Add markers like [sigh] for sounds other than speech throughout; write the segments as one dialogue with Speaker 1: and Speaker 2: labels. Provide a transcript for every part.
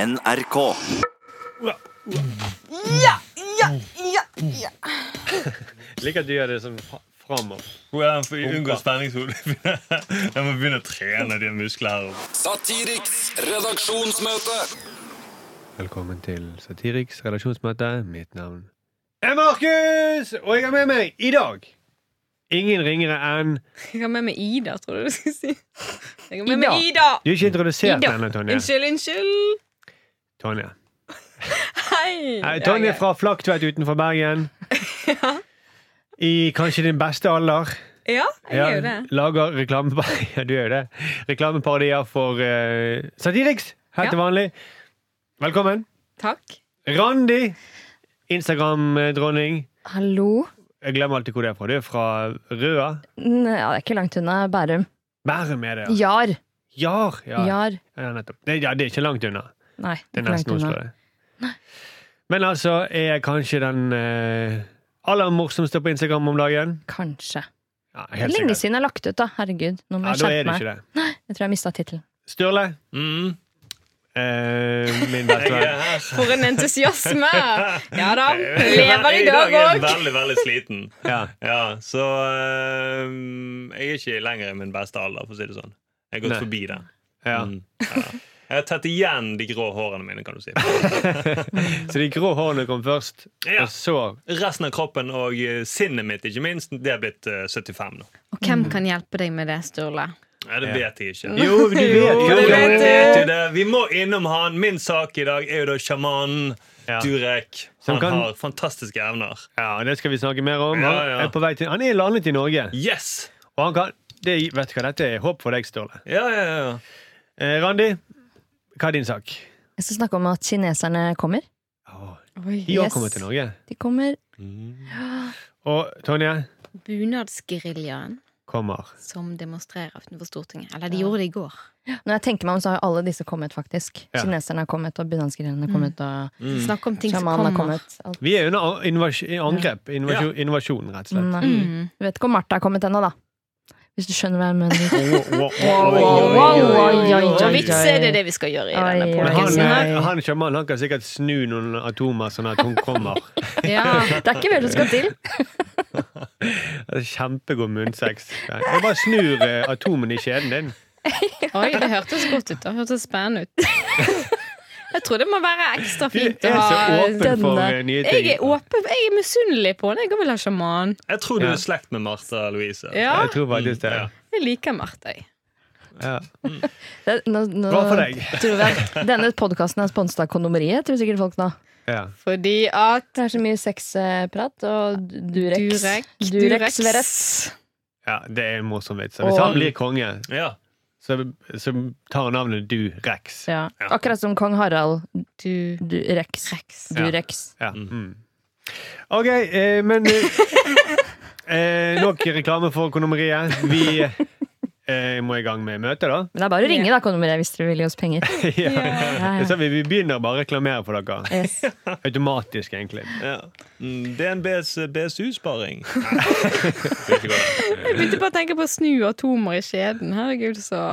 Speaker 1: NRK.
Speaker 2: Liker at du gjør det sånn fra- framover.
Speaker 3: Hvordan får vi unngå spenningshodet? [laughs] Jeg må begynne å trene de musklene. her.
Speaker 4: Satiriks redaksjonsmøte.
Speaker 2: Velkommen til Satiriks redaksjonsmøte. Mitt navn er Markus, og jeg har med meg i dag ingen ringere enn
Speaker 5: Jeg har med meg Ida, tror jeg du skulle si. Jeg har med
Speaker 2: Ida.
Speaker 5: meg Ida!
Speaker 2: Du er ikke introdusert
Speaker 5: Ida.
Speaker 2: ennå, Tonje.
Speaker 5: Unnskyld, unnskyld.
Speaker 2: Tonje.
Speaker 5: Hei.
Speaker 2: Nei, Tonje
Speaker 5: Ja,
Speaker 2: fra Flaktveit utenfor
Speaker 5: [laughs]
Speaker 2: Bergen. I kanskje din beste alder.
Speaker 5: Ja, jeg er jo det.
Speaker 2: lager reklamepar- [laughs] ja, du er jo det. reklameparodier for eh, Satiriks, helt
Speaker 5: Ja.
Speaker 2: til vanlig. Velkommen.
Speaker 5: Takk.
Speaker 2: Randi, Instagram-dronning.
Speaker 6: Hallo?
Speaker 2: Jeg glemmer alltid hvor det er fra. Du er fra Røa.
Speaker 6: N- Ja, det er ikke langt unna Bærum.
Speaker 2: Bærum er det, ja.
Speaker 6: Jar.
Speaker 2: Jar. Ja, ja.
Speaker 6: Jar.
Speaker 2: nettopp. Det, ja, det er ikke langt unna.
Speaker 6: Nei,
Speaker 2: Det er
Speaker 6: ikke langt
Speaker 2: nesten Oslo.
Speaker 6: unna.
Speaker 2: det. Men altså er jeg kanskje den eh, aller morsomste på Instagram om dagen.
Speaker 6: Kanskje.
Speaker 2: Ja,
Speaker 6: Det er
Speaker 2: helt
Speaker 6: Lenge
Speaker 2: sikkert.
Speaker 6: siden jeg har lagt ut, da. Herregud. Nå må
Speaker 2: Ja,
Speaker 6: jeg
Speaker 2: da er det
Speaker 6: skjerpe meg.
Speaker 2: ikke det.
Speaker 6: Jeg tror jeg mista tittelen.
Speaker 2: Sturle,
Speaker 3: Mm.
Speaker 2: eh, min beste
Speaker 3: Jeg er
Speaker 2: venn.
Speaker 3: her.
Speaker 5: For en entusiasme! Ja da. Lever i
Speaker 3: Jeg
Speaker 5: dag
Speaker 3: er
Speaker 5: òg.
Speaker 3: veldig, veldig sliten.
Speaker 2: Ja.
Speaker 3: Ja, så øhm, jeg er ikke lenger i min beste alder, for å si det sånn. Jeg har gått
Speaker 2: Nei.
Speaker 3: forbi den.
Speaker 2: Ja.
Speaker 3: Mm, ja. Jeg har tatt igjen de grå hårene mine, kan du si.
Speaker 2: Så de grå hårene kom først,
Speaker 3: Ja.
Speaker 2: og så
Speaker 3: Resten av kroppen og eh, sinnet mitt, ikke minst, det er blitt eh, 75 nå.
Speaker 5: Og hvem kan hjelpe deg med det, Sturle?
Speaker 3: Ja, det
Speaker 2: Ja.
Speaker 3: vet jeg ikke.
Speaker 2: Jo, du vet
Speaker 3: Jo,
Speaker 2: jo
Speaker 3: det
Speaker 2: det.
Speaker 3: vet jeg jo det. Vi må innom han. Min sak i dag er jo da sjamanen
Speaker 2: Ja.
Speaker 3: Durek.
Speaker 2: Som
Speaker 3: Han
Speaker 2: kan-
Speaker 3: har fantastiske evner.
Speaker 2: Ja, det skal vi snakke mer om.
Speaker 3: Ja,
Speaker 2: Han
Speaker 3: ja.
Speaker 2: er på vei til Han er landet i Norge.
Speaker 3: Yes!
Speaker 2: Og han kan det, Vet du hva, dette er håp for deg, Sturle.
Speaker 3: Ja, ja, ja.
Speaker 2: Eh, Randi, hva er din sak?
Speaker 6: Jeg skal snakke om at kineserne kommer.
Speaker 2: Åh,
Speaker 5: Oi,
Speaker 2: De har
Speaker 6: Yes.
Speaker 2: kommet til Norge.
Speaker 6: De kommer.
Speaker 2: Mm. Og Tonje
Speaker 5: Bunadsgeriljaen
Speaker 2: kommer.
Speaker 5: som demonstrerer utenfor Stortinget. Eller de gjorde det i går.
Speaker 6: Når jeg tenker meg om, så har jo alle disse kommet, faktisk.
Speaker 2: Ja.
Speaker 6: Kineserne har kommet, og
Speaker 5: Mm.
Speaker 6: bunadsgrenene har kommet, og
Speaker 3: Mm.
Speaker 5: Snakk om ting som
Speaker 6: sjamanen har
Speaker 5: kommer.
Speaker 6: kommet. Alt.
Speaker 2: Vi er under invas angrep. Invasjon, invasjon, rett og slett.
Speaker 6: Nei.
Speaker 5: Mm.
Speaker 6: Du vet ikke om Martha har kommet ennå, da. Hvis du skjønner hva jeg mener.
Speaker 2: Wow,
Speaker 6: Oi,
Speaker 2: wow,
Speaker 6: oi,
Speaker 2: wow.
Speaker 6: oi, oi, oi,
Speaker 5: Og
Speaker 6: oi.
Speaker 5: vits er det det vi skal gjøre i
Speaker 6: Oi,
Speaker 5: denne
Speaker 6: oi,
Speaker 2: Men han,
Speaker 6: Folkens,
Speaker 5: podkasten.
Speaker 6: nei.
Speaker 2: eh, han sjamanen han kan sikkert snu noen atomer sånn at hun kommer.
Speaker 5: [laughs] Ja.
Speaker 6: Det er ikke mer som skal til.
Speaker 2: Det er Kjempegod munnsex. Nei, Jeg bare snur eh, atomene i kjeden din.
Speaker 5: [laughs] Oi, det hørtes godt ut. da. Det hørtes spennende [laughs] ut. Jeg tror det må være ekstra
Speaker 2: Du
Speaker 5: fint å
Speaker 2: er så
Speaker 5: ha
Speaker 2: åpen for
Speaker 6: denne.
Speaker 2: eh, nye ting.
Speaker 5: Jeg er åpen. Jeg er misunnelig på henne. Jeg vil ha sjaman.
Speaker 3: Jeg tror du
Speaker 2: Ja.
Speaker 3: er slekt med Martha Louise.
Speaker 5: Ja,
Speaker 2: Jeg tror faktisk det.
Speaker 3: Ja.
Speaker 5: jeg liker Martha. jeg.
Speaker 2: Ja.
Speaker 6: Det, nå, nå,
Speaker 2: Bra for deg.
Speaker 6: [laughs] Tror vi at denne podkasten er sponset av Kondomeriet, tror sikkert folk nå.
Speaker 2: Ja.
Speaker 5: Fordi at
Speaker 6: Det er så mye sexprat og Durex.
Speaker 5: Durek
Speaker 6: Durex, Verex.
Speaker 2: ja, det er en morsom vits. Hvis
Speaker 6: Og-
Speaker 2: han blir konge,
Speaker 3: Ja.
Speaker 2: så, så tar han navnet Du Rex.
Speaker 6: Ja.
Speaker 3: Ja.
Speaker 6: Akkurat som kong Harald
Speaker 5: Du
Speaker 6: Durex.
Speaker 5: Rex.
Speaker 6: Durex.
Speaker 2: Ja. Mm. OK, eh, men eh, eh, Nok reklame for Kondomeriet. Vi eh, må i gang med møtet, da.
Speaker 6: Men det er bare å ringe, da, Kondomeriet, hvis dere vil gi oss penger.
Speaker 2: ja.
Speaker 6: Ja,
Speaker 2: Så
Speaker 6: ja.
Speaker 2: vi, vi begynner bare å reklamere for dere.
Speaker 6: Yes.
Speaker 2: [laughs] Automatisk, egentlig.
Speaker 3: ja. Mm, DNBs [laughs] BSU-sparing. Det er ikke godt.
Speaker 5: Jeg begynte bare å tenke på å snu atomer i skjeden. Herregud, så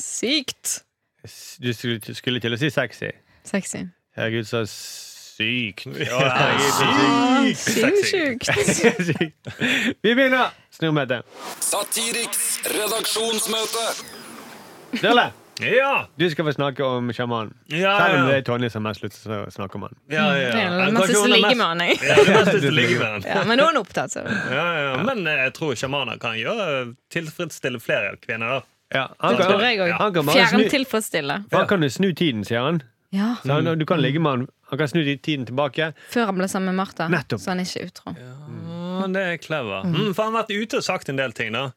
Speaker 5: sykt
Speaker 2: S- Du skulle skulle til å si sexy.
Speaker 5: sexy.
Speaker 2: Herregud, så sykt.
Speaker 3: Ja, herregud, så sykt sexy.
Speaker 5: Ah, Sinnssykt.
Speaker 2: Sykt. vi begynner! Snurrmøte.
Speaker 4: Satiriks redaksjonsmøte.
Speaker 2: Sturle,
Speaker 3: Ja,
Speaker 2: du skal få snakke om sjamanen.
Speaker 3: ja,
Speaker 2: Selv om det
Speaker 3: ja.
Speaker 2: er Tonje som har sluttet å snakke om han.
Speaker 3: ja, ja.
Speaker 5: Det er
Speaker 3: Jeg
Speaker 5: den
Speaker 3: kan
Speaker 5: masse
Speaker 3: ikke
Speaker 5: som
Speaker 3: ordne
Speaker 5: ligger
Speaker 3: mest-
Speaker 5: med han, jeg.
Speaker 3: Ja, det er mest til å ligge med han.
Speaker 5: Ja, men nå er han opptatt, så.
Speaker 3: Ja, ja. Men eh, jeg tror sjamaner kan gjøre tilfredsstille flere kvinner. da.
Speaker 2: Ja, han,
Speaker 3: Det
Speaker 2: kan,
Speaker 5: tror jeg også.
Speaker 2: han kan bare snu,
Speaker 5: Fjern tilfredsstille.
Speaker 2: for han kan jo snu tiden, sier han.
Speaker 5: Ja,
Speaker 2: Så han, du kan ligge med han. Han kan snu tiden tilbake.
Speaker 5: Før han ble sammen med Martha,
Speaker 2: Nettopp.
Speaker 5: så han er ikke utro.
Speaker 3: Ja, det er clever. Mm, for han har vært ute og sagt en del ting, da.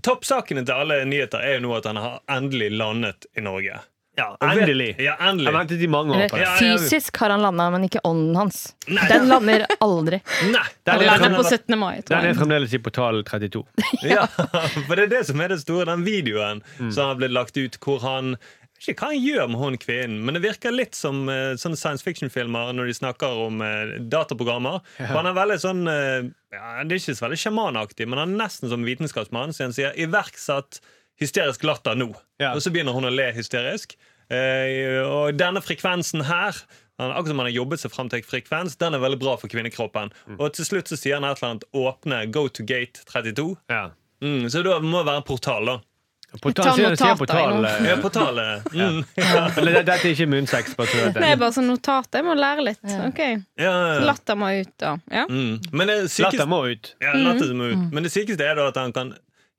Speaker 3: Toppsakene til alle nyheter er jo nå at han har endelig landet i Norge.
Speaker 2: Ja,
Speaker 3: Og vet-
Speaker 2: endelig.
Speaker 3: Ja,
Speaker 2: Jeg
Speaker 3: endelig.
Speaker 2: ventet i mange år på det.
Speaker 6: Eller,
Speaker 3: ja, ja.
Speaker 6: fysisk har han landa, men ikke ånden hans.
Speaker 3: Nei.
Speaker 6: Den lander aldri.
Speaker 3: Nei,
Speaker 2: Den
Speaker 5: Han
Speaker 2: er,
Speaker 5: lander på
Speaker 2: fremdeles,
Speaker 5: 17. mai, tror
Speaker 2: den er
Speaker 5: jeg.
Speaker 2: fremdeles i portal 32.
Speaker 3: [laughs] Ja, for det er det som er det store, den videoen som har blitt lagt ut, hvor han jeg vet ikke hva han gjør med hun kvinnen, men det virker litt som eh, sånne science fiction-filmer når de snakker om eh, dataprogrammer. For han er veldig sånn eh, ja, Det er ikke så veldig sjamanaktig, men han er nesten som vitenskapsmann. Så han sier 'iverksatt hysterisk latter nå',
Speaker 2: Ja.
Speaker 3: og så begynner hun å le hysterisk. Eh, Eh, og denne frekvensen her han, akkurat som han har jobbet seg frem til en frekvens, den er veldig bra for kvinnekroppen. Og til slutt så sier han et eller annet åpne go to gate 32.
Speaker 2: Ja.
Speaker 3: Mm, så det må være en portal, da.
Speaker 2: Portal, sier, sier
Speaker 5: notater
Speaker 2: portal.
Speaker 5: innom.
Speaker 3: Ja,
Speaker 2: [laughs]
Speaker 3: portal eh, mm.
Speaker 2: Ja. Eller det- dette er ikke munnsex. Bare så du vet
Speaker 5: [laughs] Nei,
Speaker 2: det.
Speaker 5: bare sånn notater. Jeg må lære litt.
Speaker 6: Ja.
Speaker 5: Ok,
Speaker 3: ja, ja.
Speaker 5: Latter må ut, da. Ja.
Speaker 3: Mm. Men det sykeste
Speaker 2: Latter må ut.
Speaker 3: Ja, latter som er ut. Men det sykeste er da at han kan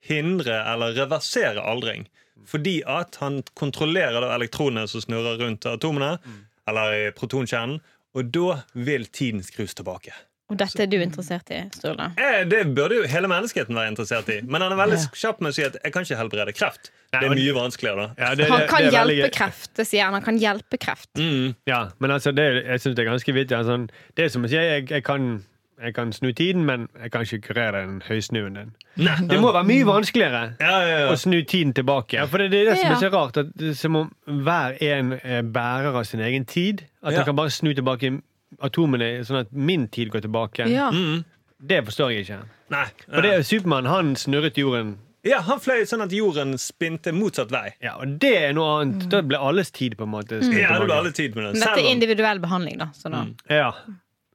Speaker 3: hindre eller reversere aldring. Fordi at han kontrollerer da elektronene som snurrer rundt atomene,
Speaker 2: Mm.
Speaker 3: eller i protonkjernen, og da vil tiden skrus tilbake.
Speaker 5: Og dette er du interessert i, Sturle.
Speaker 3: Eh, Det burde jo hele menneskeheten være interessert i. Men han er veldig
Speaker 6: Ja.
Speaker 3: kjapp med å si at 'jeg kan ikke helbrede kreft'. Det
Speaker 2: og-
Speaker 3: er mye vanskeligere, da.
Speaker 2: Ja, det-
Speaker 5: Han
Speaker 2: det-
Speaker 5: kan
Speaker 2: det er veldig
Speaker 5: hjelpe
Speaker 2: gøy.
Speaker 5: kreft, det sier han. Han kan hjelpe kreft.
Speaker 3: Mm.
Speaker 2: Ja, men altså, det, er- jeg syns det er ganske vittig. Altså, sånn, det er som å si jeg, jeg, kan, jeg kan snu tiden, men jeg kan ikke kurere den høysnuen din.
Speaker 3: Nei.
Speaker 2: Det må være mye vanskeligere
Speaker 3: Ja, ja, ja.
Speaker 2: å snu tiden tilbake. Ja, for det, er det som er så rart, at det er som om hver en er bærer av sin egen tid. At
Speaker 3: Ja.
Speaker 2: han kan bare snu tilbake atomene, sånn at min tid går tilbake.
Speaker 5: Ja.
Speaker 3: Mm.
Speaker 2: Det forstår jeg ikke.
Speaker 3: Nei.
Speaker 2: For det er Supermann, han snurret jorden.
Speaker 3: Ja, han fløy sånn at jorden spinte motsatt vei.
Speaker 2: Ja, og det er noe annet. Da ble alles tid, på en måte. skrudd
Speaker 3: Ja, det
Speaker 2: tilbake.
Speaker 3: ble alle tid med det.
Speaker 5: Mm. Men dette
Speaker 3: Selv
Speaker 5: er
Speaker 3: om-
Speaker 5: individuell behandling, da. Så da.
Speaker 2: Ja. [laughs]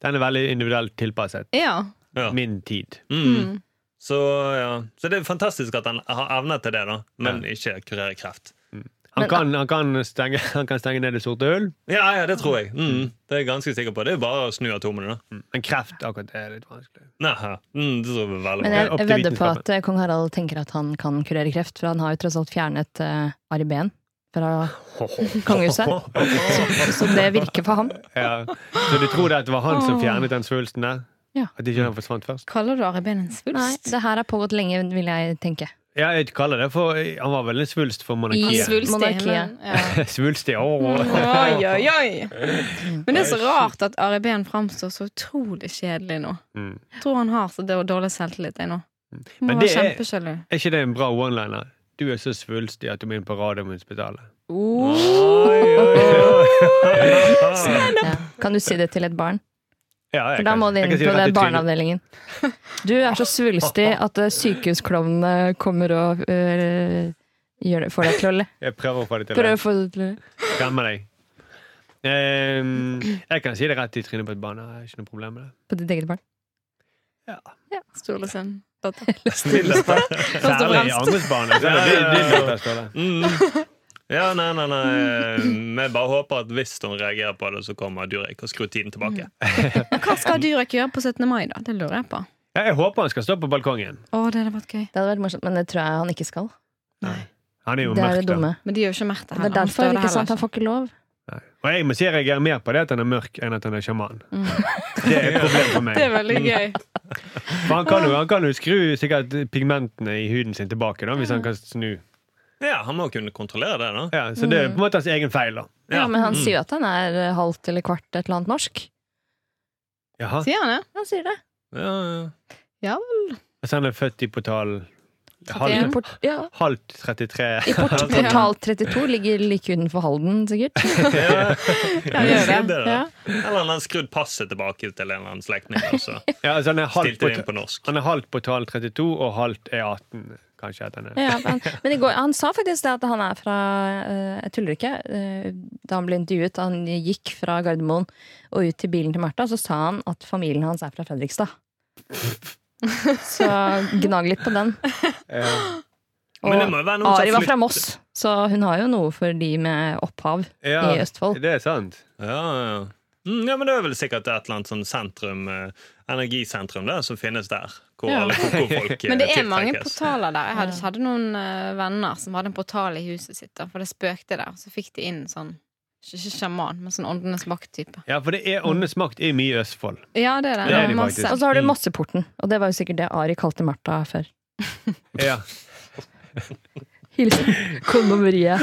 Speaker 2: Den er veldig individuelt tilpasset.
Speaker 5: Ja.
Speaker 3: Ja.
Speaker 2: Min tid.
Speaker 3: Mm. Så, ja. så det er fantastisk at han har evne til det, da, men ikke kurere kreft.
Speaker 2: Han,
Speaker 6: Men-
Speaker 2: kan, han, kan stenge, [laughs] han kan stenge ned det sorte hull,
Speaker 3: Ja, ja, det tror jeg. Mm. Det er jeg ganske sikker på. Det er jo bare å snu atomene, da.
Speaker 2: men kreft akkurat det er litt vanskelig.
Speaker 3: Nei, ja. mm, det tror jeg er veldig
Speaker 6: Men
Speaker 3: bra.
Speaker 6: jeg,
Speaker 2: opp til
Speaker 6: jeg vedder på
Speaker 2: vitenskapen.
Speaker 6: at eh, kong Harald tenker at han kan kurere kreft, for han har jo tross alt fjernet uh, Ari Behn fra kongehuset. Så, så det virker for ham.
Speaker 2: Ja. Så du tror det at det var han som fjernet den svulsten der?
Speaker 6: Ja.
Speaker 2: At ikke den forsvant først?
Speaker 5: Kaller du Ari Behn en
Speaker 6: Nei,
Speaker 5: svulst?
Speaker 6: det her har pågått lenge, vil jeg tenke.
Speaker 2: Ja, jeg kaller det for Han var vel en svulst for monarkiet.
Speaker 6: I-
Speaker 5: Svulstig,
Speaker 6: Monarkiet.
Speaker 5: men- ja.
Speaker 2: [laughs] svulst, ja.
Speaker 6: Mm.
Speaker 2: Åh.
Speaker 5: Oi, oi, oi. Men det er så rart at Ari Behn framstår så utrolig kjedelig nå.
Speaker 2: Mm.
Speaker 5: Jeg tror han har så det- dårlig selvtillit, jeg nå. Må
Speaker 2: Men
Speaker 5: være
Speaker 2: det er-
Speaker 5: kjempesjalu.
Speaker 2: Er ikke det en bra one-liner? Du er så svulstig at du må inn på Radiumhospitalet. Mm.
Speaker 5: Oh.
Speaker 3: Oi, oi, oi.
Speaker 6: Ja. Kan du si det til et barn?
Speaker 2: Ja, jeg
Speaker 6: For da
Speaker 2: kan-
Speaker 6: må de
Speaker 2: jeg
Speaker 6: inn
Speaker 2: kan si det
Speaker 6: på den
Speaker 2: rett ut til-
Speaker 6: barneavdelingen. Du er så svulstig at eh, sykehusklovnene kommer og eh, gjør det, får deg til å le.
Speaker 2: Jeg prøver å få det til.
Speaker 6: Prøv å få det til å le.
Speaker 2: Skremme deg. Ehm, jeg kan si det rett i trynet på et barn. Jeg har ikke noe problem med det.
Speaker 6: På ditt eget barn.
Speaker 5: Stole sin datter.
Speaker 3: Stille.
Speaker 5: Først og
Speaker 2: Særlig i
Speaker 5: fremst.
Speaker 2: andres barn. altså.
Speaker 3: Ja, ja, ja.
Speaker 2: Det- det- det- det-
Speaker 3: Mm. Ja, nei, nei, nei. Vi bare håper at hvis hun reagerer på det, så kommer Durek og skrur tiden tilbake.
Speaker 5: Mm. Men hva skal Durek gjøre på 17. mai, da? Det lurer jeg på.
Speaker 2: Ja, Jeg håper han skal stå på balkongen.
Speaker 5: Å, det hadde vært gøy.
Speaker 6: Det hadde vært morsomt, men det tror jeg han ikke skal.
Speaker 2: Han er jo
Speaker 6: Det er
Speaker 2: mørk,
Speaker 6: det
Speaker 2: da.
Speaker 6: dumme.
Speaker 5: Men de gjør jo ikke Märtha
Speaker 6: Det
Speaker 5: heller.
Speaker 6: er
Speaker 5: Han
Speaker 6: derfor
Speaker 5: står altså. der
Speaker 6: ikke
Speaker 5: heller
Speaker 6: sant, han får ikke lov.
Speaker 2: Og jeg må si jeg reagerer mer på det at han er mørk, enn at han er sjaman.
Speaker 6: Mm.
Speaker 2: Det er et problem for
Speaker 6: [laughs]
Speaker 5: ikke. Det er
Speaker 2: meg.
Speaker 5: veldig gøy.
Speaker 2: [laughs] For han kan, jo, han kan jo skru sikkert pigmentene i huden sin tilbake, da, hvis han kan snu.
Speaker 3: Ja, Han må kunne kontrollere det, da.
Speaker 2: Ja, så det
Speaker 6: Mm.
Speaker 2: er på en måte hans egen feil, da.
Speaker 6: Ja, men han
Speaker 3: Mm.
Speaker 6: sier jo at han er eh, halvt eller kvart et eller annet norsk.
Speaker 2: Jaha.
Speaker 5: Sier han det?
Speaker 6: Han sier det.
Speaker 3: Ja, ja.
Speaker 5: Ja vel.
Speaker 2: Altså, han er født i portal
Speaker 6: I,
Speaker 2: halvt,
Speaker 6: port, ja.
Speaker 2: halvt 33. [laughs]
Speaker 6: I port,
Speaker 5: Ja.
Speaker 6: portal 32 ligger like utenfor Halden, sikkert.
Speaker 3: Ja.
Speaker 5: Han gjør det.
Speaker 3: det, da. Eller han har skrudd passet tilbake til en eller annen slektning. og så
Speaker 2: Ja, altså, han er halvt
Speaker 3: Stilte det inn
Speaker 2: portal-
Speaker 3: på norsk.
Speaker 2: han er halvt portal 32 og halvt E18, kanskje. at han er.
Speaker 6: Ja, men, men i går, han sa faktisk det at han er fra eh, Jeg tuller ikke. eh, da han ble intervjuet, han gikk fra Gardermoen og ut til bilen til Martha, så sa han at familien hans er fra Fredrikstad. Så gnag litt på den.
Speaker 2: Eh,
Speaker 6: Og
Speaker 3: [laughs] Men det må jo være noen som
Speaker 6: Ari var
Speaker 3: flytter-
Speaker 6: fra Moss, så hun har jo noe for de med opphav
Speaker 2: Ja.
Speaker 6: i Østfold.
Speaker 2: Det er sant.
Speaker 3: Ja, ja. Mm, ja, men det er vel sikkert et eller annet sånn sentrum, eh, energisentrum der, som finnes der. Hvor
Speaker 5: Ja. altså.
Speaker 3: alle koko-folk eh,
Speaker 5: Men det er mange
Speaker 3: tiltrekkes.
Speaker 5: portaler der. Jeg hadde, hadde noen eh, venner som hadde en portal i huset sitt, da, for det spøkte der. Så fikk de inn sånn ikke ikke sjaman, men sånn åndenes makt-type.
Speaker 2: Ja, for det
Speaker 6: Mm.
Speaker 2: er åndenes makt er mye i Østfold.
Speaker 5: Ja, det er det.
Speaker 2: Det er
Speaker 5: det
Speaker 2: de
Speaker 5: er masse. altså,
Speaker 6: Og så har du Mosseporten, og det var jo sikkert det Ari kalte Martha før.
Speaker 2: Ja.
Speaker 6: Hilsen [laughs] kondomeriet.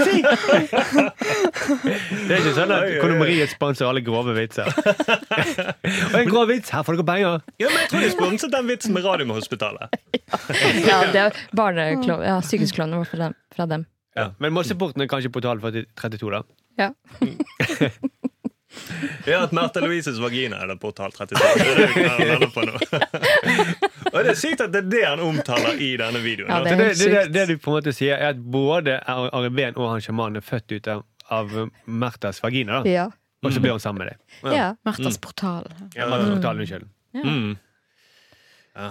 Speaker 2: Det er ikke sånn at kondomeriet sponser alle grove
Speaker 3: [laughs]
Speaker 2: vitser. Og en grov vits! Her får dere penger!
Speaker 3: Ja, men jeg tror de sponset den vitsen med Radiumhospitalet.
Speaker 6: [laughs] Ja, det er barneklo- ja, sykehusklovnene var fra dem. Fra dem.
Speaker 2: Men Mosseporten er kanskje portal 32, da.
Speaker 6: Ja.
Speaker 3: Ja, at Märtha Louises vagina er det portal 32. Det er det vi kan lande på nå. Og Og det er sykt at det er det han omtaler i denne videoen.
Speaker 6: Ja,
Speaker 3: da.
Speaker 2: Så Altså,
Speaker 6: Det er
Speaker 2: det,
Speaker 6: helt
Speaker 2: det, det,
Speaker 6: sykt.
Speaker 2: det du på en måte sier, er at både Arven og han sjamanen er født ut av, av Märthas vagina, da.
Speaker 6: Ja.
Speaker 2: og så blir hun sammen med deg.
Speaker 6: ja.
Speaker 5: Marthas portal.
Speaker 3: Ja,
Speaker 2: Martha Portal, unnskyld.
Speaker 3: Mm.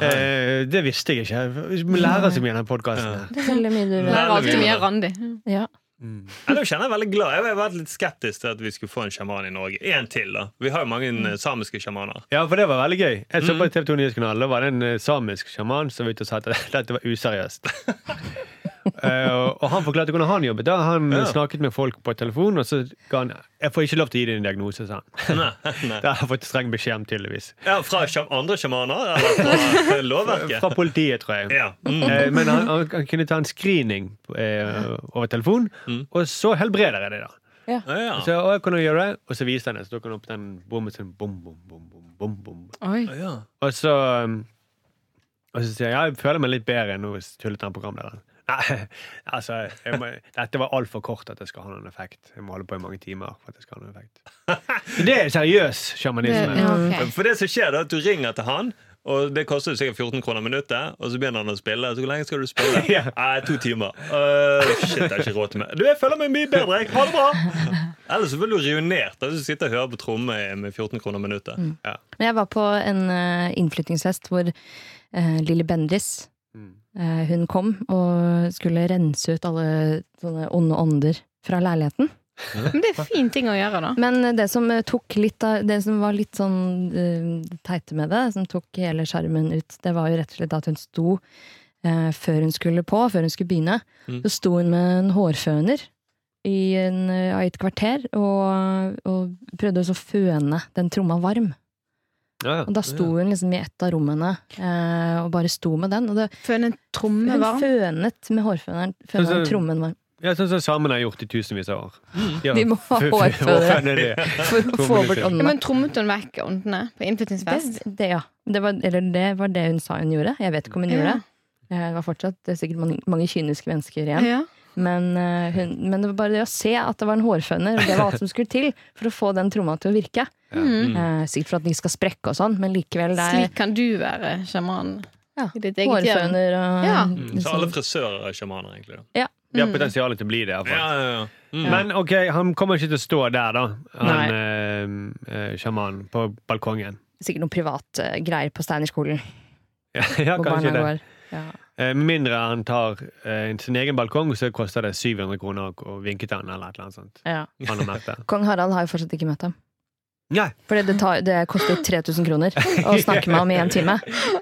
Speaker 2: Eh, det visste jeg ikke. Vi må lære så mye i denne podkasten.
Speaker 6: Det er veldig mye du
Speaker 5: Det
Speaker 3: Nei.
Speaker 6: vet.
Speaker 5: er alltid mye Randi.
Speaker 6: Ja.
Speaker 3: Eller, jeg kjenner jeg veldig glad. Jeg har vært litt skeptisk til at vi skulle få en sjaman i Norge. En til, da. Vi har jo mange eh, samiske sjamaner.
Speaker 2: Ja, for det var veldig gøy. Mm. Jeg så på TV 2 Nyhetskanalen, da var det en eh, samisk sjaman som var ute og sa at [laughs] dette var [laughs] useriøst. Eh, og, og han forklarte hvordan han jobbet. da Han
Speaker 3: Ja.
Speaker 2: snakket med folk på telefon, og så ga han 'Jeg får ikke lov til å gi deg en diagnose', [laughs] sa han.
Speaker 3: Nei, nei.
Speaker 2: Det har jeg fått streng beskjed om, tydeligvis.
Speaker 3: Ja, fra sjam- andre sjamaner? Eller fra eh, lovverket?
Speaker 2: Fra politiet, tror jeg.
Speaker 3: Ja. Mm.
Speaker 2: Eh, Men han, han, han kunne ta en screening eh, over telefon, og så helbreder jeg det, da.
Speaker 3: Ja, ja.
Speaker 2: Så, og jeg kunne gjøre det, og så viste han det, så tok han opp den bommen sånn bom, bom, bom, bom, bom, bom.
Speaker 5: Oi.
Speaker 3: Ja.
Speaker 2: Og så um, Og så sier jeg ja, jeg føler meg litt bedre nå, hvis tullet han programlederen. [laughs] Nei, altså jeg må, Dette var altfor kort at det skal ha noen effekt. Jeg må holde på i mange timer for at det skal ha noen effekt. Så det er seriøs
Speaker 5: Det,
Speaker 2: sjamanisme.
Speaker 5: ja, ok.
Speaker 3: For det som skjer, da, er at du ringer til han, og det koster jo sikkert 14 kroner minuttet, og så begynner han å spille. Så hvor lenge skal du spille?
Speaker 2: Ja.
Speaker 3: Nei, to timer. Øh, shit, jeg har ikke råd til mer. Du, jeg føler meg mye bedre. Jeg. Ha det bra! Ellers så blir du ruinert da, hvis du sitter og hører på tromme med 14 kroner minuttet. Ja.
Speaker 6: Men jeg var på en eh, innflyttingsfest hvor eh, Lille Bendris
Speaker 2: Mm.
Speaker 6: eh, hun kom og skulle rense ut alle sånne onde ånder fra leiligheten.
Speaker 5: [laughs] Men det er en fin ting å gjøre, da.
Speaker 6: Men det som eh, tok litt av Det som var litt sånn eh, det teite med det, som tok hele sjarmen ut, det var jo rett og slett at hun sto eh, før hun skulle på, før hun skulle begynne.
Speaker 3: Mm.
Speaker 6: Så sto hun med en hårføner i, en, eh, i et kvarter og, og prøvde også å føne den tromma varm.
Speaker 2: Ja,
Speaker 6: Og da sto hun liksom i et av rommene eh, og bare sto med den. Og det,
Speaker 5: Føne en tromme
Speaker 6: hun
Speaker 5: varm.
Speaker 6: fønet med hårføneren. Fønet
Speaker 2: Altså-
Speaker 6: trommen varm.
Speaker 2: ja, sånn som samene har gjort i tusenvis av år. Ja.
Speaker 6: De Mm. må ha
Speaker 2: [laughs]
Speaker 6: hårføner
Speaker 2: Hårføner, det.
Speaker 6: for å få bort
Speaker 5: Ja,
Speaker 6: åndene.
Speaker 5: men trommet hun vekk åndene på innflyttingsfest?
Speaker 6: Det, det, ja. det, var, eller det var det hun sa hun gjorde. Jeg vet ikke om hun
Speaker 5: Ja.
Speaker 6: gjorde det. Eh, Det var fortsatt det er sikkert mange, mange kyniske mennesker igjen.
Speaker 5: Ja.
Speaker 6: Men, eh, hun, men det var bare det å se at det var en hårføner, og det var alt som skulle til for å få den tromma til å virke.
Speaker 5: Mm.
Speaker 6: Eh, Sikkert for at den ikke skal sprekke og sånn, men likevel det er
Speaker 5: Slik kan du være sjaman.
Speaker 6: ja,
Speaker 5: i ditt eget hjem.
Speaker 6: hårføner og liksom
Speaker 5: Ja.
Speaker 3: Mm. Så alle frisører er sjamaner, egentlig.
Speaker 2: De
Speaker 3: Da.
Speaker 6: Mm.
Speaker 2: har potensial til å bli det. i hvert fall.
Speaker 3: Ja, ja, ja. Mm.
Speaker 2: Men ok, han kommer ikke til å stå der, da.
Speaker 6: Nei.
Speaker 2: Han eh, eh, sjamanen på balkongen. [laughs]
Speaker 6: Sikkert noen private greier på Steinerskolen.
Speaker 2: ja, ja,
Speaker 6: på
Speaker 2: kanskje det.
Speaker 6: barnegård. Ja.
Speaker 2: Eh, Med mindre han tar eh, sin egen balkong, så koster det 700 kroner å- å vinke til han eller et eller annet sånt.
Speaker 6: Ja.
Speaker 2: Han har merket
Speaker 3: [laughs]
Speaker 2: det.
Speaker 6: Kong Harald har jo fortsatt ikke møtt ham.
Speaker 2: Nei.
Speaker 6: Fordi det, tar, det koster 3000 kroner å snakke med ham i en time.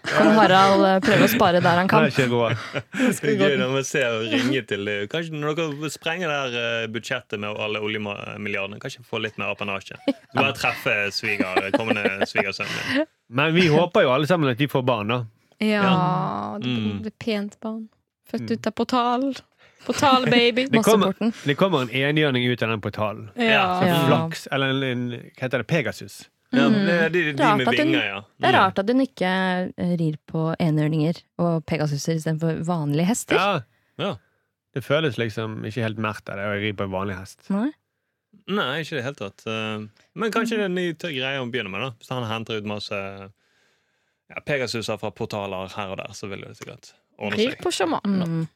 Speaker 6: Kong Harald eh, prøver å spare der han
Speaker 2: Han
Speaker 6: kan.
Speaker 2: har ikke råd.
Speaker 3: Det er gøy når man ser og ringer til eh, Kanskje når dere sprenger det her eh, budsjettet med alle oljemilliardene, kanskje få litt mer apanasje. Du Bare treffe sviger, eh, kommende svigersønnen din.
Speaker 2: Men vi håper jo alle sammen at de får barn, da.
Speaker 5: Ja, det
Speaker 3: Mm.
Speaker 5: det er pent barn. Født ut av portal. Portalbaby.
Speaker 2: Mm. [laughs] Det kommer,
Speaker 6: Masseporten.
Speaker 2: det kommer en enhjørning ut av den portalen.
Speaker 5: Ja.
Speaker 6: Ja.
Speaker 2: Flaks. Eller en, en Hva heter det? Pegasus.
Speaker 3: Ja, de, de, de
Speaker 6: Mm. Rart
Speaker 3: med
Speaker 6: at den-
Speaker 3: vinger, ja.
Speaker 6: Det er rart at hun ikke eh, rir på enhjørninger og pegasuser istedenfor vanlige hester.
Speaker 2: Ja.
Speaker 3: Ja.
Speaker 2: Det føles liksom ikke helt mert av det å ri på en vanlig hest.
Speaker 6: Nei?
Speaker 3: Mm. Nei, ikke i det hele tatt. Eh, Men kanskje det er en ny t- greie å begynne med. da Hvis han henter ut masse ja, Pegasuser fra portaler her og der, så vil det sikkert ordne
Speaker 5: Rir
Speaker 3: seg.
Speaker 5: på sjaman. nå.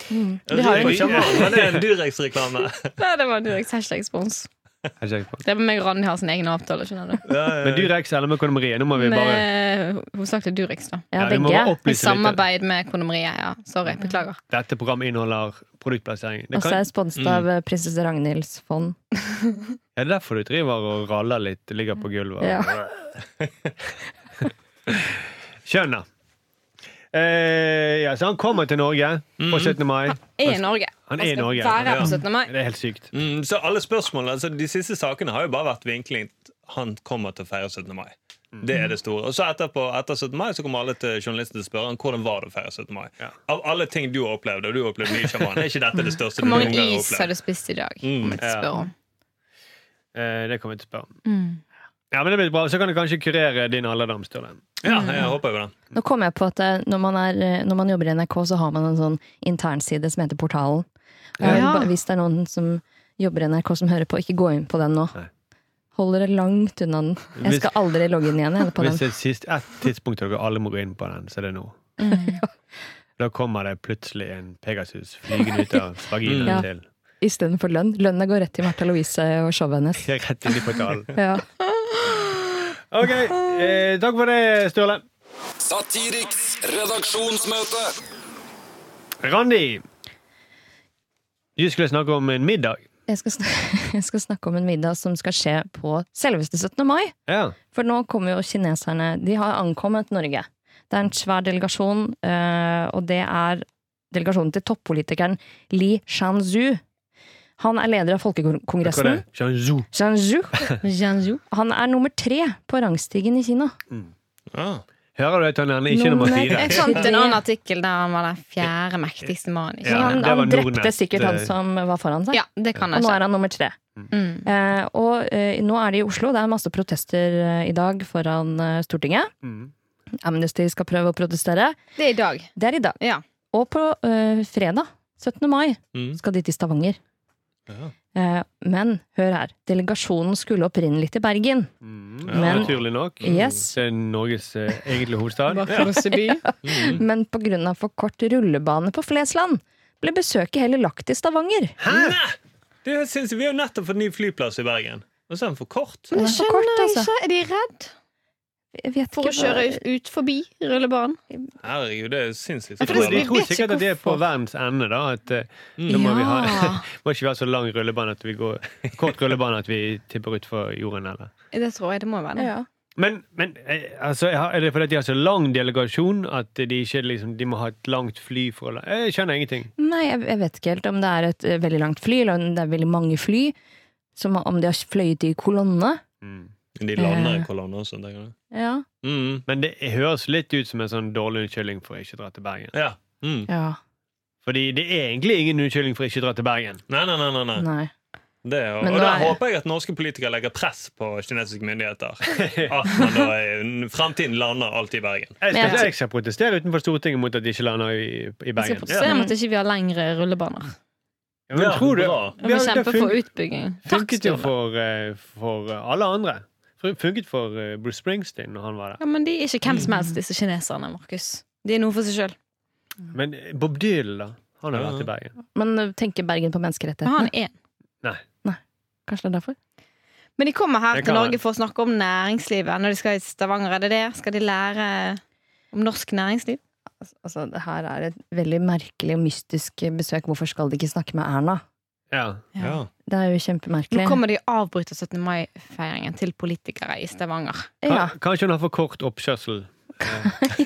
Speaker 3: Rir
Speaker 5: har jo-
Speaker 3: på sjaman, men det er en Durex-reklame.
Speaker 5: Nei, det var direkte hashtag-spons.
Speaker 2: Er ikke jeg på.
Speaker 5: Det er med meg og Randi har sin egen avtale. skjønner du
Speaker 3: Ja, ja,
Speaker 2: Men du Rex eller med kondomeriet, nå må vi bare
Speaker 5: Eh, Med hovedsakelig Durex, da.
Speaker 6: Ja,
Speaker 2: du må
Speaker 6: begge.
Speaker 2: bare
Speaker 5: I
Speaker 2: opplyse litt.
Speaker 5: samarbeid med Kondomeriet. Ja, sorry.
Speaker 2: Mm.
Speaker 5: Beklager.
Speaker 2: Dette programmet inneholder produktplassering. Det
Speaker 6: Og så
Speaker 2: kan,
Speaker 6: er
Speaker 2: Mm.
Speaker 6: jeg sponset av eh, prinsesse Ragnhilds fond.
Speaker 2: er det derfor du driver og raller litt, ligger på gulvet? og- [laughs]
Speaker 6: Ja.
Speaker 2: Skjønner. Eh, ja, så han kommer til Norge på 17. mai.
Speaker 5: Mm. Er i Norge.
Speaker 2: Han er i Norge.
Speaker 5: Skal være her på
Speaker 2: Ja.
Speaker 5: 17. mai.
Speaker 2: Det er helt sykt.
Speaker 3: Mm, så alle spørsmålene, altså De siste sakene har jo bare vært vinkling han kommer til å feire 17. mai. Det er det store. Og så etterpå, etter 17. mai så kommer alle til journalistene til å spørre han hvordan var det å feire 17. mai. Av alle ting du har opplevd, og du har opplevd mye sjaman, er ikke dette det største du
Speaker 5: Hvor
Speaker 3: noen
Speaker 5: mange
Speaker 3: gang har
Speaker 5: is har
Speaker 3: opplevd?
Speaker 5: du spist i dag?
Speaker 3: Mm,
Speaker 5: Om jeg
Speaker 3: ja.
Speaker 5: spør om.
Speaker 2: Eh, det kommer jeg til å spørre om.
Speaker 5: Mm.
Speaker 2: Ja, men det blir bra. Så kan du kanskje kurere din alderdom, Sturle.
Speaker 3: Ja, jeg håper jo det.
Speaker 6: Nå kom jeg på at eh, når man, er, eh, når man jobber i NRK, så har man en sånn internside som heter Portalen. Eh, Og jeg vil
Speaker 5: Ja.
Speaker 6: ba- Hvis det er noen som jobber i NRK som hører på, ikke gå inn på den nå.
Speaker 2: Nei.
Speaker 6: Holder det langt unna den. Jeg skal aldri logge inn igjen jeg, på
Speaker 2: Hvis
Speaker 6: den.
Speaker 2: det er sist, et tidspunkt dere alle må gå inn på den, så er det nå.
Speaker 6: Mm.
Speaker 2: Da kommer det plutselig en Pegasus flygende ut av vaginaen
Speaker 6: [laughs] Ja.
Speaker 2: til
Speaker 6: Istedenfor lønn. Lønna går rett til Märtha Louise og showet hennes.
Speaker 2: Rett inn i
Speaker 6: [laughs]
Speaker 2: portalen.
Speaker 6: Ja.
Speaker 2: OK. Eh, takk for det, Sturle.
Speaker 4: Satiriks redaksjonsmøte.
Speaker 2: Randi. Du skulle snakke om en middag.
Speaker 6: Jeg, skal snakke, [laughs] jeg skal snakke om en middag som skal skje på selveste 17. mai.
Speaker 2: Ja.
Speaker 6: For nå kommer jo kineserne De har ankommet Norge. Det er en svær delegasjon, eh, og det er delegasjonen til toppolitikeren Li Shanzu. Han er leder av
Speaker 2: Hva er det?
Speaker 6: Folkekongressen.
Speaker 2: Shanzhou.
Speaker 6: Shanzu.
Speaker 5: Jianzhu.
Speaker 6: Han er nummer tre på rangstigen i Kina.
Speaker 3: Ah.
Speaker 2: Hører du at han er ikke nummer
Speaker 6: Nummer-
Speaker 2: fire?
Speaker 5: Jeg fant en annen artikkel der han var den fjerde mektigste mannen i
Speaker 2: Ja,
Speaker 5: Kina.
Speaker 6: han
Speaker 2: det var
Speaker 6: han drepte
Speaker 2: Nordnett,
Speaker 6: sikkert han
Speaker 2: eh,
Speaker 6: som var foran seg.
Speaker 5: Ja, det kan
Speaker 6: Og
Speaker 5: jeg
Speaker 6: nå
Speaker 5: ikke.
Speaker 6: er han nummer tre.
Speaker 5: Mm.
Speaker 6: Eh, og eh, nå er de i Oslo. Det er masse protester eh, i dag foran eh, Stortinget.
Speaker 2: Mm.
Speaker 6: Amnesty skal prøve å protestere.
Speaker 5: Det er i dag.
Speaker 6: Det er i dag.
Speaker 5: Ja.
Speaker 6: Og på eh, fredag, 17. mai,
Speaker 3: Mm.
Speaker 6: skal de til Stavanger.
Speaker 3: Ja.
Speaker 6: Eh, men hør her. Delegasjonen skulle opprinnelig til Bergen.
Speaker 2: Mm.
Speaker 6: Men-
Speaker 2: Naturlig nok.
Speaker 6: Yes.
Speaker 2: Det er Norges eh, egentlige hovedstad.
Speaker 3: Mm.
Speaker 6: Men pga. for kort rullebane på Flesland ble besøket heller lagt til Stavanger.
Speaker 3: Nei! Det synes jeg, vi har jo nettopp fått ny flyplass i Bergen. Og så er den for kort.
Speaker 6: Det
Speaker 5: Det
Speaker 6: er for kort,
Speaker 5: skjønner jeg
Speaker 6: altså.
Speaker 5: ikke. Er de redd
Speaker 6: Jeg vet
Speaker 5: for å
Speaker 6: ikke hva-
Speaker 5: kjøre ut forbi rullebanen?
Speaker 3: Herregud, det er sinnssykt.
Speaker 5: Ja, for
Speaker 2: De
Speaker 5: det- vi
Speaker 2: tror
Speaker 5: vet ikke
Speaker 2: sikkert at det er på
Speaker 5: hvorfor.
Speaker 2: verdens ende, da. At, eh,
Speaker 3: Mm.
Speaker 2: Da må vi
Speaker 5: Ja.
Speaker 2: ha [laughs] Må ikke vi ha så lang rullebane at vi går kort rullebane at vi tipper utfor jorden, eller?
Speaker 5: Det tror jeg det må være det.
Speaker 6: Ja.
Speaker 2: Men, men eh, altså, er det fordi at de har så lang delegasjon at de ikke liksom, de må ha et langt fly for å la- Jeg skjønner ingenting.
Speaker 6: Nei, jeg, jeg vet ikke helt om det er et eh, veldig langt fly, eller om det er veldig mange fly. Som om de har fløyet i kolonne.
Speaker 2: Mm.
Speaker 3: De lander i kolonner og sånt. tenker jeg.
Speaker 6: Ja.
Speaker 3: Mm.
Speaker 2: Men det høres litt ut som en sånn dårlig unnskyldning for å ikke dra til Bergen.
Speaker 3: Ja. Mm.
Speaker 6: ja.
Speaker 2: Fordi det er egentlig ingen unnskyldning for å ikke dra til Bergen.
Speaker 3: Nei, nei, nei. nei, nei.
Speaker 6: Nei.
Speaker 3: Det, er jo-
Speaker 6: Men
Speaker 3: og
Speaker 6: da
Speaker 3: der
Speaker 6: er-
Speaker 3: håper jeg at norske politikere legger press på kinesiske myndigheter. At man da i fremtiden lander alltid i Bergen.
Speaker 2: Jeg
Speaker 6: Men
Speaker 2: skal,
Speaker 6: jeg-
Speaker 2: jeg skal protestere utenfor Stortinget mot at de ikke lander i, i
Speaker 5: Vi skal
Speaker 2: Bergen.
Speaker 5: protestere mot at ikke vi har lengre rullebaner.
Speaker 2: Ja, men
Speaker 3: Ja,
Speaker 2: tror du,
Speaker 3: bra.
Speaker 5: Vi må
Speaker 2: har-
Speaker 5: kjempe
Speaker 2: det fun-
Speaker 5: for utbygging. Takk,
Speaker 2: funket jo
Speaker 5: Sturle.
Speaker 2: for, eh, for alle andre. Fun- Funket for eh, Bruce Springsteen når han var der.
Speaker 5: Ja, men de er ikke hvem som helst, disse kineserne, Markus. De er noe for seg sjøl. Mm.
Speaker 2: Men eh, Bob Dylan, da? Han har
Speaker 3: Ja.
Speaker 2: vært i Bergen.
Speaker 6: Men eh, tenker Bergen på
Speaker 5: Men han
Speaker 6: menneskerettighetene?
Speaker 5: er en.
Speaker 6: Kanskje det er derfor?
Speaker 5: Men de kommer her
Speaker 2: Det
Speaker 5: til
Speaker 2: kan
Speaker 5: Norge
Speaker 2: være.
Speaker 5: for å snakke om næringslivet. Når de skal i Stavanger, er det det? Skal de lære om norsk næringsliv?
Speaker 6: Altså, det her er et veldig merkelig og mystisk besøk. Hvorfor skal de ikke snakke med Erna?
Speaker 2: Ja.
Speaker 3: Ja.
Speaker 6: Det er jo
Speaker 5: Nå
Speaker 6: kjempemerkelig.
Speaker 5: kommer de og avbryter 17. mai-feiringen til politikere i Stavanger.
Speaker 2: Ka-
Speaker 6: Ja.
Speaker 2: Kanskje hun har for kort
Speaker 5: [laughs]
Speaker 2: oppkjørsel. Eh.